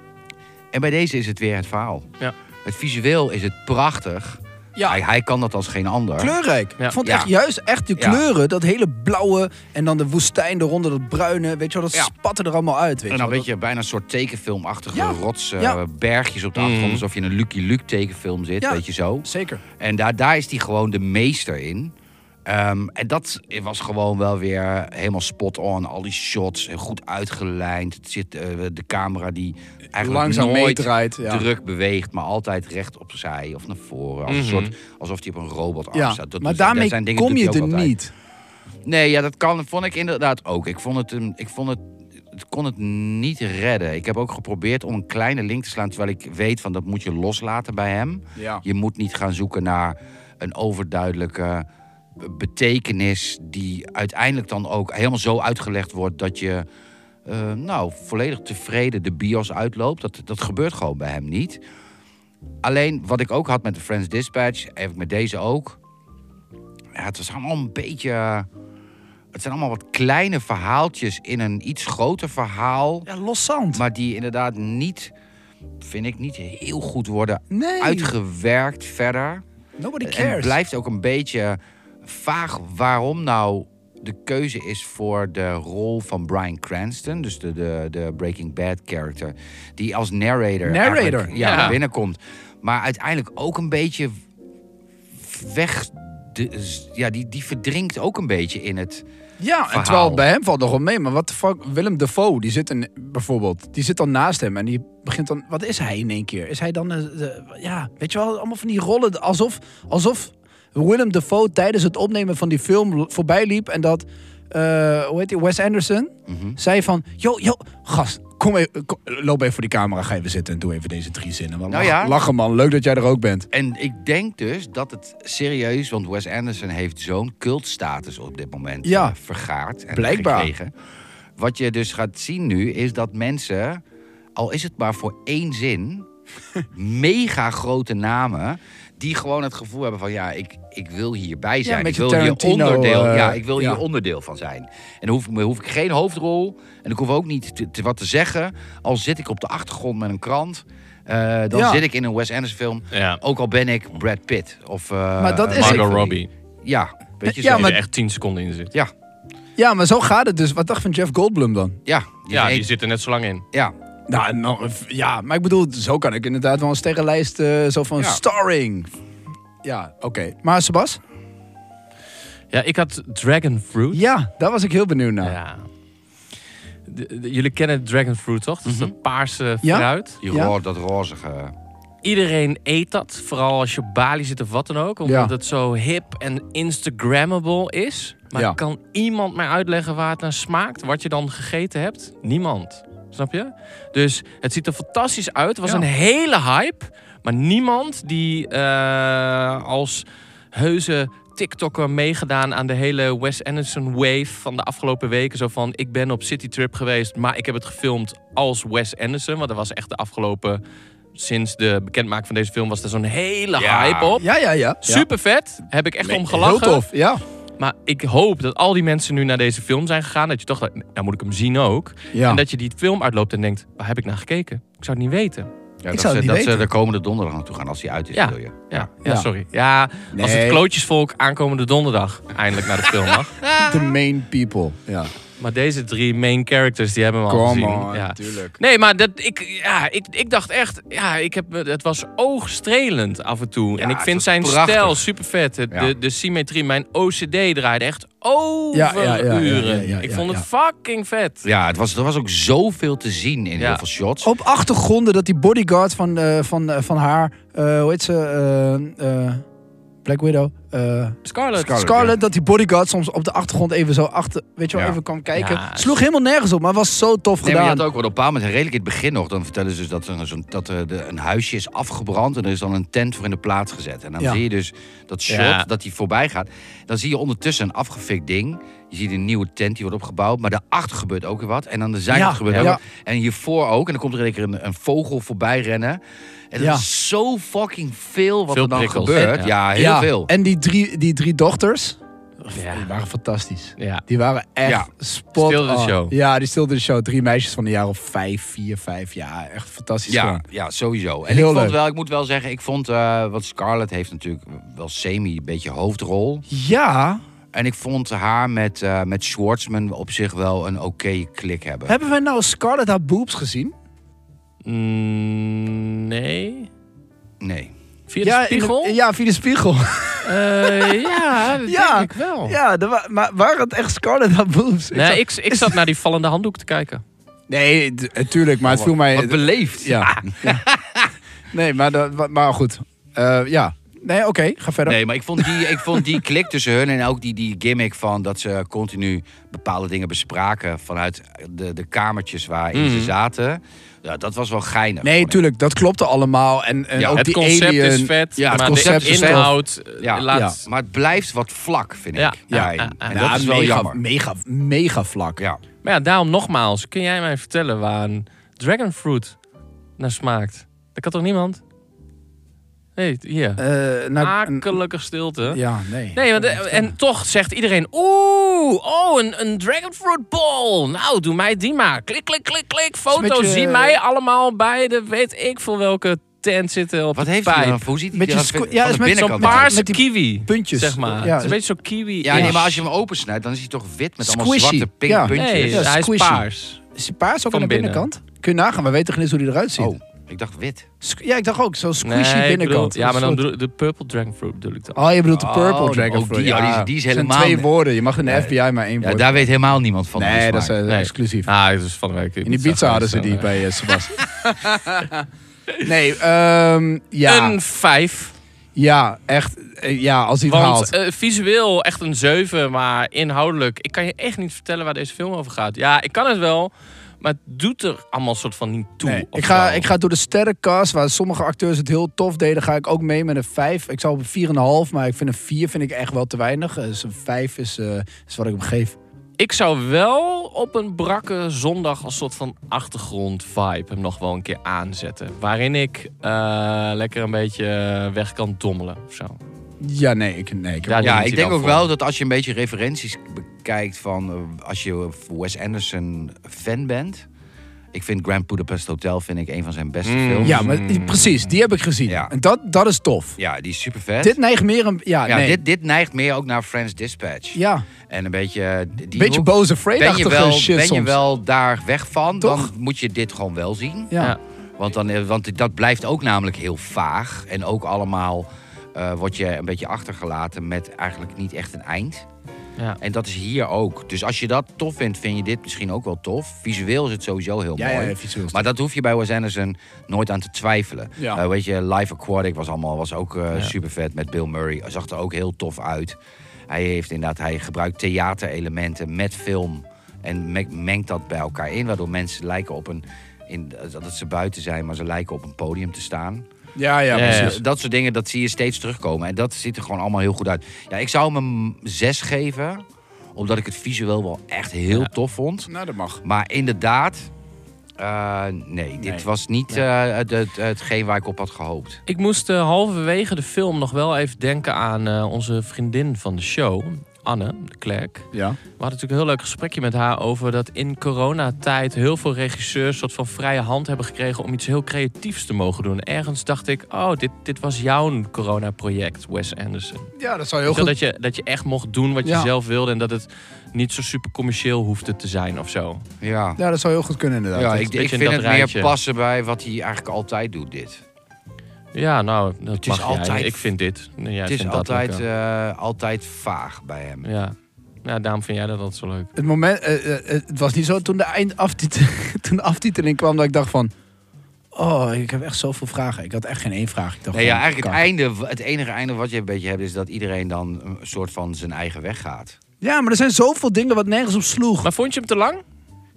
Speaker 5: En bij deze is het weer het verhaal.
Speaker 3: Ja.
Speaker 5: Het visueel is het prachtig.
Speaker 4: Ja.
Speaker 5: Hij, hij kan dat als geen ander.
Speaker 4: Kleurrijk.
Speaker 3: Ja.
Speaker 4: Ik vond
Speaker 5: Ja.
Speaker 4: echt juist echt de
Speaker 5: Ja.
Speaker 4: kleuren. Dat hele blauwe en dan de woestijn eronder, dat bruine. Weet je wel, dat
Speaker 5: Ja.
Speaker 4: spatte er allemaal uit. Weet
Speaker 5: En
Speaker 4: je
Speaker 5: dan
Speaker 4: wel.
Speaker 5: weet je, bijna een soort tekenfilmachtige
Speaker 4: Ja.
Speaker 5: rots, eh,
Speaker 4: Ja.
Speaker 5: bergjes op de achtergrond.
Speaker 3: Mhm.
Speaker 5: Alsof je in een Lucky Luke tekenfilm zit,
Speaker 4: Ja.
Speaker 5: weet je zo.
Speaker 4: Dat- Zeker.
Speaker 5: En daar, daar is hij gewoon de meester in. Ehm, en dat was gewoon wel weer helemaal spot on. Al die shots, goed uitgelijnd. Het zit, eh, de camera die eigenlijk
Speaker 4: Langzaam
Speaker 5: nooit
Speaker 4: meedraait, ja.
Speaker 5: druk beweegt, maar altijd recht opzij of naar voren. Als een soort, alsof hij op een robotarm
Speaker 4: Mhm. Ja,
Speaker 5: staat. Oh, Dat
Speaker 4: maar
Speaker 5: doet hij- dat
Speaker 4: daarmee
Speaker 5: zijn dingen
Speaker 4: kom
Speaker 5: doet
Speaker 4: je
Speaker 5: hij ook
Speaker 4: er
Speaker 5: altijd.
Speaker 4: niet.
Speaker 5: Nee, ja, dat kan, vond ik inderdaad ook. Ik vond het, een- ik vond het, het kon het niet redden. Ik heb ook geprobeerd om een kleine link te slaan, terwijl ik weet van dat moet je loslaten bij hem.
Speaker 4: Ja.
Speaker 5: Je moet niet gaan zoeken naar een overduidelijke betekenis die uiteindelijk dan ook helemaal zo uitgelegd wordt dat je eh, nou, volledig tevreden de bios uitloopt. Dat, dat gebeurt gewoon bij hem niet. Alleen wat ik ook had met de Friends Dispatch, heb ik met deze ook. Ja, het was allemaal een beetje. eh, Het zijn allemaal wat kleine verhaaltjes in een iets groter verhaal.
Speaker 4: Ja, los zand.
Speaker 5: Maar die inderdaad niet, vind ik, niet heel goed worden
Speaker 4: Nee.
Speaker 5: uitgewerkt verder.
Speaker 4: Nobody
Speaker 5: En het
Speaker 4: cares.
Speaker 5: blijft ook een beetje vaag waarom nou de keuze is voor de rol van Bryan Cranston. Dus de, de, de Breaking Bad character. Die als narrator,
Speaker 4: Narrator,
Speaker 5: eigenlijk, ja,
Speaker 3: ja.
Speaker 5: naar binnenkomt. Maar uiteindelijk ook een beetje weg... de- ja, die, die verdrinkt ook een beetje in het...
Speaker 4: Ja, en
Speaker 5: verhaal.
Speaker 4: terwijl bij hem valt nog wel mee. Maar wat de fuck, Willem Dafoe, die zit in, bijvoorbeeld, die zit dan naast hem en die begint dan, wat is hij in één keer? Is hij dan, eh, de- ja, weet je wel, allemaal van die rollen, alsof, alsof Willem Dafoe tijdens het opnemen van die film l- voorbij liep en dat, eh, hoe heet die, Wes Anderson,
Speaker 5: Mhm.
Speaker 4: zei van, yo, yo, gast, kom even, kom- loop even voor die camera, ga even zitten en doe even deze drie zinnen. Want
Speaker 5: Nou
Speaker 4: lach-
Speaker 5: ja.
Speaker 4: Lachen man, leuk dat jij er ook bent.
Speaker 5: En ik denk dus dat het serieus, want Wes Anderson heeft zo'n cultstatus op dit moment
Speaker 4: Ja.
Speaker 5: eh, vergaard en
Speaker 4: Blijkbaar.
Speaker 5: gekregen. Wat je dus gaat zien nu is dat mensen, al is het maar voor één zin, mega grote namen die gewoon het gevoel hebben van ja, ik, ik wil hierbij zijn.
Speaker 4: een
Speaker 5: ik
Speaker 4: beetje
Speaker 5: wil hier
Speaker 4: Tarantino,
Speaker 5: onderdeel,
Speaker 4: eh,
Speaker 5: ja, ik wil
Speaker 4: ja.
Speaker 5: hier onderdeel van zijn. En dan hoef ik, me- hoef ik geen hoofdrol en ik hoef ook niet te- te- wat te zeggen. Al zit ik op de achtergrond met een krant, eh, dan
Speaker 4: Ja.
Speaker 5: zit ik in een Wes Anderson film.
Speaker 3: Ja.
Speaker 5: Ook al ben ik Brad Pitt of eh,
Speaker 4: Maar dat is
Speaker 5: Margot
Speaker 3: Margot
Speaker 5: Robbie.
Speaker 3: Robbie.
Speaker 5: Ja, weet je
Speaker 4: Ja,
Speaker 5: zo.
Speaker 3: Die
Speaker 4: maar-
Speaker 3: er echt 10 seconden in zit.
Speaker 5: ja,
Speaker 4: Ja, maar zo gaat het dus. Wat dacht je van Jeff Goldblum dan?
Speaker 5: ja,
Speaker 3: Ja, die
Speaker 5: is-
Speaker 3: zit er net zo lang in.
Speaker 5: ja.
Speaker 4: Nou, nou, f- ja, maar ik bedoel, zo kan ik inderdaad wel een sterrenlijst eh, zo van
Speaker 5: Ja.
Speaker 4: starring. Ja, oké. Maar Sebas?
Speaker 3: Ja, ik had Dragon Fruit.
Speaker 4: Ja, daar was ik heel benieuwd naar.
Speaker 3: Ja. De- de- jullie kennen Dragon Fruit, toch? Dat is dat paarse
Speaker 4: Mhm. Ja.
Speaker 3: fruit.
Speaker 5: Die
Speaker 4: Ja.
Speaker 5: ro- dat rozige.
Speaker 3: Iedereen eet dat. Vooral als je op Bali zit of wat dan ook. Omdat
Speaker 4: Ja.
Speaker 3: het zo hip en Instagrammable is. Maar
Speaker 4: Ja.
Speaker 3: kan iemand mij uitleggen waar het naar smaakt? Wat je dan gegeten hebt? Niemand. Snap je? Dus het ziet er fantastisch uit. Het was
Speaker 4: Ja.
Speaker 3: een hele hype. Maar niemand die eh, als heuse TikToker meegedaan aan de hele Wes Anderson wave van de afgelopen weken. Zo van, ik ben op citytrip geweest, maar ik heb het gefilmd als Wes Anderson. Want dat was echt de afgelopen... Sinds de bekendmaking van deze film was er zo'n hele
Speaker 5: Ja.
Speaker 3: hype op.
Speaker 4: ja, ja. ja.
Speaker 3: Super vet. Heb ik echt om
Speaker 4: Ja. Heel
Speaker 3: gelachen.
Speaker 4: tof, ja.
Speaker 3: Maar ik hoop dat al die mensen nu naar deze film zijn gegaan. Dat je toch, dacht, nou moet ik hem zien ook.
Speaker 4: Ja.
Speaker 3: En dat je die film uitloopt en denkt, waar heb ik naar gekeken? Ik zou het niet weten.
Speaker 5: Ja,
Speaker 4: Ik
Speaker 5: dat
Speaker 4: zou
Speaker 5: ze,
Speaker 4: het niet
Speaker 5: dat ze
Speaker 4: weten.
Speaker 5: de komende donderdag naartoe gaan als die uit is,
Speaker 3: Ja.
Speaker 5: wil je.
Speaker 3: Ja, ja,
Speaker 4: Ja.
Speaker 3: sorry. Ja, als het
Speaker 4: Nee.
Speaker 3: klootjesvolk aankomende donderdag eindelijk naar de film mag.
Speaker 4: The main people. Ja.
Speaker 3: Maar deze drie main characters, die hebben we al gezien.
Speaker 4: Come on,
Speaker 3: ja.
Speaker 4: tuurlijk.
Speaker 3: Nee, maar dat, ik, ja, ik, ik dacht echt, ja, ik heb, het was oogstrelend af en toe. en ik
Speaker 5: het
Speaker 3: vind
Speaker 5: was
Speaker 3: zijn
Speaker 5: prachtig.
Speaker 3: stijl super vet. De,
Speaker 5: Ja.
Speaker 3: de, de symmetrie, mijn OCD draaide echt over
Speaker 4: Ja, ja, ja, ja, ja,
Speaker 3: uren.
Speaker 4: ja,
Speaker 3: ik
Speaker 4: ja,
Speaker 3: vond het fucking vet.
Speaker 5: Ja, het was, er was ook zoveel te zien in
Speaker 3: Ja.
Speaker 5: heel veel shots.
Speaker 4: Op achtergronden dat die bodyguard van, eh, van, eh, van haar, eh, hoe heet ze? Eh, eh, Black Widow. eh,
Speaker 3: Scarlett.
Speaker 4: Scarlett, dat die bodyguard soms op de achtergrond even zo achter, weet je wel,
Speaker 5: Ja.
Speaker 4: even kwam kijken.
Speaker 3: Ja, het-
Speaker 4: Sloeg helemaal nergens op, maar was zo tof
Speaker 5: Nee, maar je
Speaker 4: gedaan.
Speaker 5: had ook wel op een bepaald moment, redelijk in het begin nog, dan vertellen ze dus dat er, zo'n, dat er de- een huisje is afgebrand en er is dan een tent voor in de plaats gezet. En dan
Speaker 4: Ja.
Speaker 5: zie je dus dat shot,
Speaker 3: Ja.
Speaker 5: dat die voorbij gaat. Dan zie je ondertussen een afgefikt ding. Je ziet een nieuwe tent die wordt opgebouwd, maar daarachter gebeurt ook weer wat. En aan de zijkant
Speaker 4: Ja,
Speaker 5: gebeurt
Speaker 4: ja.
Speaker 5: ook
Speaker 4: Ja.
Speaker 5: wat. En hiervoor ook. En dan komt er in één keer een, een vogel voorbij rennen. En
Speaker 4: Ja.
Speaker 5: dat is zo fucking veel wat
Speaker 3: Veel
Speaker 5: er dan
Speaker 3: prikkels.
Speaker 5: gebeurt.
Speaker 3: Ja.
Speaker 5: Ja, heel
Speaker 4: Ja,
Speaker 5: veel.
Speaker 4: En die drie, die drie dochters,
Speaker 3: Ah, Ja.
Speaker 4: die waren fantastisch.
Speaker 3: Ja.
Speaker 4: Die waren echt
Speaker 5: Ja.
Speaker 4: spot
Speaker 3: Stilde de
Speaker 4: on.
Speaker 3: show.
Speaker 4: Ja, die stilde de show. Drie meisjes van de jaren of vijf, vier, vijf. Ja, echt fantastisch.
Speaker 5: Ja,
Speaker 4: gewoon.
Speaker 5: ja, sowieso. En
Speaker 4: Heel
Speaker 5: ik vond
Speaker 4: leuk.
Speaker 5: wel, ik moet wel zeggen, ik vond, eh want Scarlett heeft natuurlijk wel semi een beetje hoofdrol.
Speaker 4: ja.
Speaker 5: En ik vond haar met, eh met Schwartzman op zich wel een oké klik hebben.
Speaker 4: Hebben wij nou Scarlett haar boobs gezien?
Speaker 3: Mm, nee.
Speaker 5: Nee.
Speaker 3: Via de
Speaker 4: ja, in de-
Speaker 3: spiegel?
Speaker 4: ja, via de spiegel.
Speaker 3: Eh, ja, dat
Speaker 4: Ja.
Speaker 3: denk ik wel.
Speaker 4: ja, er wa- maar waren het echt Scarlett haar boobs? Ik zag-
Speaker 3: Nee, ik, ik zat naar die vallende handdoek te kijken.
Speaker 4: nee, t- eh, tuurlijk, maar het viel mij...
Speaker 5: Wat beleefd.
Speaker 4: ja. Ja. Nee, maar, dat- wa- maar goed. Eh, ja. Nee, oké, ga verder.
Speaker 5: Nee, maar ik vond, die, ik vond die klik tussen hun en ook die, die gimmick van dat ze continu bepaalde dingen bespraken vanuit de, de kamertjes waarin ze zaten. Ja, dat was wel geinig.
Speaker 4: Mhm. Nee,
Speaker 5: vond ik.
Speaker 4: tuurlijk, dat klopte allemaal. En, en
Speaker 5: Ja,
Speaker 4: ook
Speaker 3: het
Speaker 4: die
Speaker 3: concept
Speaker 4: alien,
Speaker 3: is vet,
Speaker 4: Ja, het
Speaker 3: maar
Speaker 4: concept
Speaker 3: de
Speaker 4: is vet.
Speaker 3: inhoud eh,
Speaker 5: Ja.
Speaker 3: laat...
Speaker 5: Maar het blijft wat vlak, vind
Speaker 3: Ja.
Speaker 5: ik.
Speaker 3: Ja.
Speaker 5: daarin.
Speaker 3: Ja.
Speaker 5: En
Speaker 4: Ja,
Speaker 5: dat is wel
Speaker 4: mega,
Speaker 5: jammer.
Speaker 4: Mega, mega vlak.
Speaker 5: Ja.
Speaker 4: Maar
Speaker 3: Maar ja, daarom nogmaals. Kun jij mij vertellen waar een dragonfruit naar smaakt? Dat kan toch niemand? Nee, hier.
Speaker 4: Eh, nou,
Speaker 3: Akelijke stilte.
Speaker 4: Ja, nee.
Speaker 3: Nee, want, eh, en toch zegt iedereen... Oeh, oh, een, een dragonfruit ball. Nou, doe mij die maar. Klik, klik, klik, klik. Foto,
Speaker 4: Met je-
Speaker 3: zie mij allemaal bij de weet ik veel welke tent zitten op
Speaker 5: Wat
Speaker 3: de
Speaker 5: heeft hij nou?
Speaker 3: pijp.
Speaker 5: dan? Hoe ziet hij
Speaker 4: Met
Speaker 5: er
Speaker 4: je
Speaker 5: aan-
Speaker 4: sco-
Speaker 5: van
Speaker 4: ja,
Speaker 5: de
Speaker 4: is met zo'n
Speaker 5: binnenkant
Speaker 4: paar-
Speaker 5: uit?
Speaker 3: Paarse
Speaker 4: Met die
Speaker 3: kiwi.
Speaker 4: puntjes.
Speaker 3: Zeg maar.
Speaker 4: Ja,
Speaker 3: het is een
Speaker 4: dus-
Speaker 3: beetje zo'n kiwi.
Speaker 5: Ja, nee,
Speaker 3: is-
Speaker 5: maar als je hem opensnijdt, dan is hij toch wit met allemaal
Speaker 4: Squishy.
Speaker 5: zwarte pink
Speaker 4: Ja.
Speaker 5: puntjes.
Speaker 3: Nee,
Speaker 4: Ja,
Speaker 3: hij is
Speaker 4: squishy.
Speaker 3: paars.
Speaker 4: Is die paars ook
Speaker 3: Van
Speaker 4: aan de
Speaker 3: binnen.
Speaker 4: binnenkant? Kun je nagaan, maar we weten geen eens hoe die eruit ziet.
Speaker 5: Oh, ik dacht wit.
Speaker 4: Squ- Ja, ik dacht ook, zo'n
Speaker 3: Nee,
Speaker 4: squishy
Speaker 3: ik bedoel-
Speaker 4: binnenkant.
Speaker 3: ja, maar dan
Speaker 4: Een soort-
Speaker 3: bedoel ik de purple dragonfruit bedoel ik dan.
Speaker 4: Oh, je bedoelt de
Speaker 5: Oh,
Speaker 4: purple
Speaker 5: oh,
Speaker 4: dragonfruit.
Speaker 5: die- ja, die is- die is
Speaker 4: Het zijn
Speaker 5: helemaal-
Speaker 4: twee woorden. Je mag in de FBI maar één
Speaker 5: Ja,
Speaker 4: woord.
Speaker 5: daar weet helemaal niemand van. hoe die
Speaker 4: nee, dat is
Speaker 5: smaakt.
Speaker 4: eh,
Speaker 3: Nee.
Speaker 4: exclusief.
Speaker 3: Ah, dat is van de week.
Speaker 4: In die pizza hadden ze die bij eh, Sebastian. nee, ehm, ja,
Speaker 3: Een 5.
Speaker 4: ja, echt. eh, ja, als hij het haalt.
Speaker 3: Want eh, visueel echt een 7, maar inhoudelijk. Ik kan je echt niet vertellen waar deze film over gaat. Ja, ik kan het wel, maar het doet er allemaal soort van niet toe.
Speaker 4: Nee,
Speaker 3: of
Speaker 4: ik, ga,
Speaker 3: zo.
Speaker 4: ik ga door de sterrenkast, waar sommige acteurs het heel tof deden, ga ik ook mee met een 5. Ik zou op een 4,5, maar ik vind een 4 vind ik echt wel te weinig. Eh, Dus een 5 is, eh, is wat ik hem geef.
Speaker 3: Ik zou wel op een brakke zondag als soort van achtergrond-vibe hem nog wel een keer aanzetten. Waarin ik eh, lekker een beetje weg kan dommelen of zo.
Speaker 4: Ja, nee, ik, nee, ik heb
Speaker 3: Ja,
Speaker 5: Ja,
Speaker 3: Daar doet
Speaker 5: ik
Speaker 3: hij
Speaker 5: denk
Speaker 3: dan
Speaker 5: ook
Speaker 3: voor.
Speaker 5: wel dat als je een beetje referenties bekijkt van eh, als je Wes Anderson fan bent. Ik vind Grand Budapest Hotel vind ik een van zijn beste
Speaker 3: Mm.
Speaker 5: films.
Speaker 4: Ja, maar die- precies, die heb ik gezien.
Speaker 5: Ja.
Speaker 4: En dat, dat is tof.
Speaker 5: Ja, die is super vet.
Speaker 4: Dit neigt meer een. Ja,
Speaker 5: ja,
Speaker 4: nee.
Speaker 5: dit, dit neigt meer ook naar Friends Dispatch.
Speaker 4: ja.
Speaker 5: En een beetje eh, die
Speaker 4: beetje
Speaker 5: hoek.
Speaker 4: boze afraid
Speaker 5: ben je wel,
Speaker 4: shit
Speaker 5: ben je
Speaker 4: soms.
Speaker 5: wel daar weg van,
Speaker 4: Toch?
Speaker 5: dan moet je dit gewoon wel zien.
Speaker 4: Ja.
Speaker 3: Ja.
Speaker 5: Want, dan, eh, want dat blijft ook namelijk heel vaag. En ook allemaal eh, word je een beetje achtergelaten met eigenlijk niet echt een eind.
Speaker 3: Ja.
Speaker 5: En dat is hier ook. Dus als je dat tof vindt, vind je dit misschien ook wel tof. Visueel is het sowieso heel
Speaker 4: Ja,
Speaker 5: mooi.
Speaker 4: ja, visueel is het
Speaker 5: maar dat hoef je bij Wes Anderson nooit aan te twijfelen.
Speaker 4: Ja.
Speaker 5: Eh, weet je, Live Aquatic was, allemaal, was ook super vet met Bill Murray. Hij Zag er ook heel tof uit. Hij, heeft inderdaad, hij gebruikt theaterelementen met film. En me- mengt dat bij elkaar in. Waardoor mensen lijken op een... In, dat ze buiten zijn, maar ze lijken op een podium te staan.
Speaker 4: Ja, ja,
Speaker 3: Ja, ja.
Speaker 4: precies.
Speaker 5: Dus dat soort dingen, dat zie je steeds terugkomen. En dat ziet er gewoon allemaal heel goed uit. Ja, ik zou hem een 6 geven, omdat ik het visueel wel echt heel tof vond.
Speaker 4: Nou, dat mag.
Speaker 5: Maar inderdaad, eh, nee, dit
Speaker 4: Nee.
Speaker 5: was niet eh, het, het, hetgeen waar ik op had gehoopt.
Speaker 3: Ik moest eh, halverwege de film nog wel even denken aan eh, onze vriendin van de show, Anne de Klerk.
Speaker 4: Ja.
Speaker 3: We hadden natuurlijk een heel leuk gesprekje met haar over dat in coronatijd heel veel regisseurs soort van vrije hand hebben gekregen om iets heel creatiefs te mogen doen. Ergens dacht ik, oh, dit, dit was jouw coronaproject, Wes Anderson.
Speaker 4: ja, dat zou heel
Speaker 3: Weet je wel,
Speaker 4: goed.
Speaker 3: Dat je, dat je echt mocht doen wat je
Speaker 4: Ja.
Speaker 3: zelf wilde en dat het niet zo super commercieel hoefde te zijn of zo.
Speaker 5: Ja,
Speaker 4: Ja, dat zou heel goed kunnen
Speaker 5: ja,
Speaker 4: inderdaad.
Speaker 5: ik,
Speaker 3: beetje
Speaker 5: ik
Speaker 3: in
Speaker 5: vind het
Speaker 3: dat rijtje.
Speaker 5: meer passen bij wat hij eigenlijk altijd doet, dit.
Speaker 3: Ja, nou, dat
Speaker 5: is
Speaker 3: mag jij.
Speaker 5: altijd-
Speaker 3: Ik vind dit. Nee, jij
Speaker 5: het is
Speaker 3: vindt dat
Speaker 5: altijd,
Speaker 3: lekker.
Speaker 5: eh, altijd vaag bij hem.
Speaker 3: ja. ja, daarom vind jij dat altijd zo leuk.
Speaker 4: Het moment, eh, eh, eh, het was niet zo toen de, eindaftitel, toen de aftiteling kwam dat ik dacht van... Oh, ik heb echt zoveel vragen. Ik had echt geen één vraag. Ik dacht
Speaker 5: Nee, ja,
Speaker 4: gewoon,
Speaker 5: eigenlijk het,
Speaker 4: kak.
Speaker 5: einde, het enige einde wat je een beetje hebt, is dat iedereen dan een soort van zijn eigen weg gaat.
Speaker 4: Ja, maar er zijn zoveel dingen wat nergens op sloeg.
Speaker 3: Maar vond je hem te lang?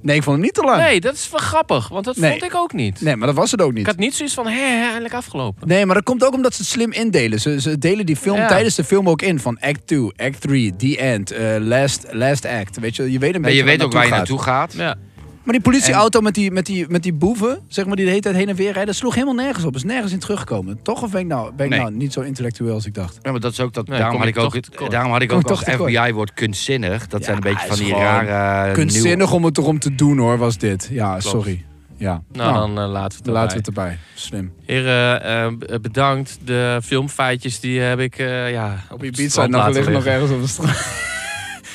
Speaker 4: Nee, ik vond het niet te lang. Nee,
Speaker 3: Nee, dat is wel grappig, want dat
Speaker 4: Ah. Nee.
Speaker 3: vond ik ook niet.
Speaker 4: maar dat was het ook
Speaker 3: Ik
Speaker 4: niet.
Speaker 3: had niet zoiets van, hé, hé, eindelijk afgelopen.
Speaker 4: Nee, maar dat komt ook omdat ze het slim indelen. Ze, ze delen die film
Speaker 3: Ja.
Speaker 4: tijdens de film ook in. Van act 2, act 3, the end, eh, last, last act. Weet je, je weet een
Speaker 5: Maar
Speaker 4: beetje
Speaker 5: je weet ook waar je
Speaker 4: gaat.
Speaker 5: naartoe gaat.
Speaker 3: Ja.
Speaker 4: Maar die politieauto met, die, met, die, met die boeven, zeg maar, die de hele tijd heen en weer rijden, sloeg helemaal nergens op. Is nergens in teruggekomen. Toch of ben ik nou, ben ik
Speaker 5: Nee.
Speaker 4: nou niet zo intellectueel als ik dacht?
Speaker 5: Ja, maar dat is ook dat.
Speaker 3: Nee,
Speaker 5: daarom,
Speaker 3: kom
Speaker 5: had
Speaker 3: je
Speaker 5: ik ook,
Speaker 3: toch tekort.
Speaker 5: daarom had ik
Speaker 4: Kom
Speaker 5: ook
Speaker 4: je
Speaker 5: als
Speaker 4: toch tekort.
Speaker 5: FBI-woord kunstzinnig. Dat
Speaker 4: Ja,
Speaker 5: zijn een beetje van
Speaker 4: is
Speaker 5: die
Speaker 4: gewoon
Speaker 5: rare. eh, nieuwe-
Speaker 4: Kunstzinnig om het erom te doen hoor, was dit. Ja, sorry. Ja.
Speaker 3: Nou, dan eh, laten we het erbij.
Speaker 4: dan laten we het erbij. Slim.
Speaker 3: Heren, eh, b- bedankt. De filmfeitjes die heb ik eh, ja, op het
Speaker 4: Pizza
Speaker 3: strand
Speaker 4: nog
Speaker 3: laten
Speaker 4: ligt nou, nog
Speaker 3: liggen.
Speaker 4: ergens op de straat.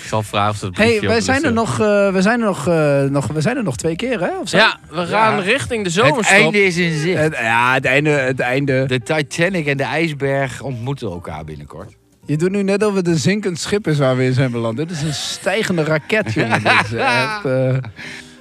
Speaker 3: Ik zal vragen of ze het
Speaker 4: Hey,
Speaker 3: briefje
Speaker 4: wij
Speaker 3: op
Speaker 4: zijn er
Speaker 3: willen
Speaker 4: nog, eh, we zijn er nog, eh, nog, we zijn er nog twee keer, hè? Of zo?
Speaker 3: zetten. Ja, we gaan
Speaker 5: Ja.
Speaker 3: richting de
Speaker 5: Het
Speaker 3: zomerstop.
Speaker 5: einde is in zicht.
Speaker 4: Het, ja, het einde, het einde.
Speaker 5: De Titanic en de ijsberg ontmoeten elkaar binnenkort.
Speaker 4: Je doet nu net alsof het een zinkend schip is waar we in zijn beland. Dit is een stijgende raket, jongen. Dit is echt, eh,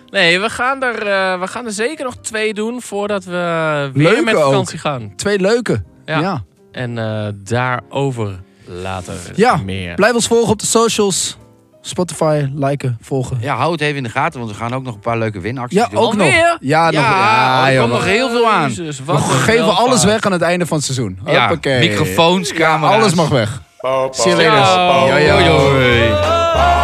Speaker 3: Nee, we gaan, er, eh, we gaan er zeker nog twee doen voordat we weer
Speaker 4: Leuke
Speaker 3: met
Speaker 4: ook.
Speaker 3: vakantie gaan.
Speaker 4: twee leuke.
Speaker 3: Ja.
Speaker 4: ja.
Speaker 3: En eh, daarover later
Speaker 4: Ja,
Speaker 3: meer.
Speaker 4: Blijf ons volgen op de socials. Spotify, liken, volgen.
Speaker 5: Ja, hou het even in de gaten, want we gaan ook nog een paar leuke winacties
Speaker 4: Ja,
Speaker 5: doen.
Speaker 4: ook nog.
Speaker 3: Alweer?
Speaker 4: Ja, nog.
Speaker 5: Ja,
Speaker 4: Ja,
Speaker 5: er
Speaker 4: joh.
Speaker 5: komt nog heel veel aan.
Speaker 3: Jezus,
Speaker 4: We
Speaker 3: wat een
Speaker 4: geven
Speaker 3: welvaart.
Speaker 4: alles weg aan het einde van het seizoen.
Speaker 5: Ja,
Speaker 4: Hoppakee.
Speaker 5: microfoons, camera's.
Speaker 4: Alles mag weg.
Speaker 2: Bow,
Speaker 4: See you
Speaker 3: Ciao.
Speaker 4: later. Yo, yo.
Speaker 3: Hoi, hoi.
Speaker 5: Hoi.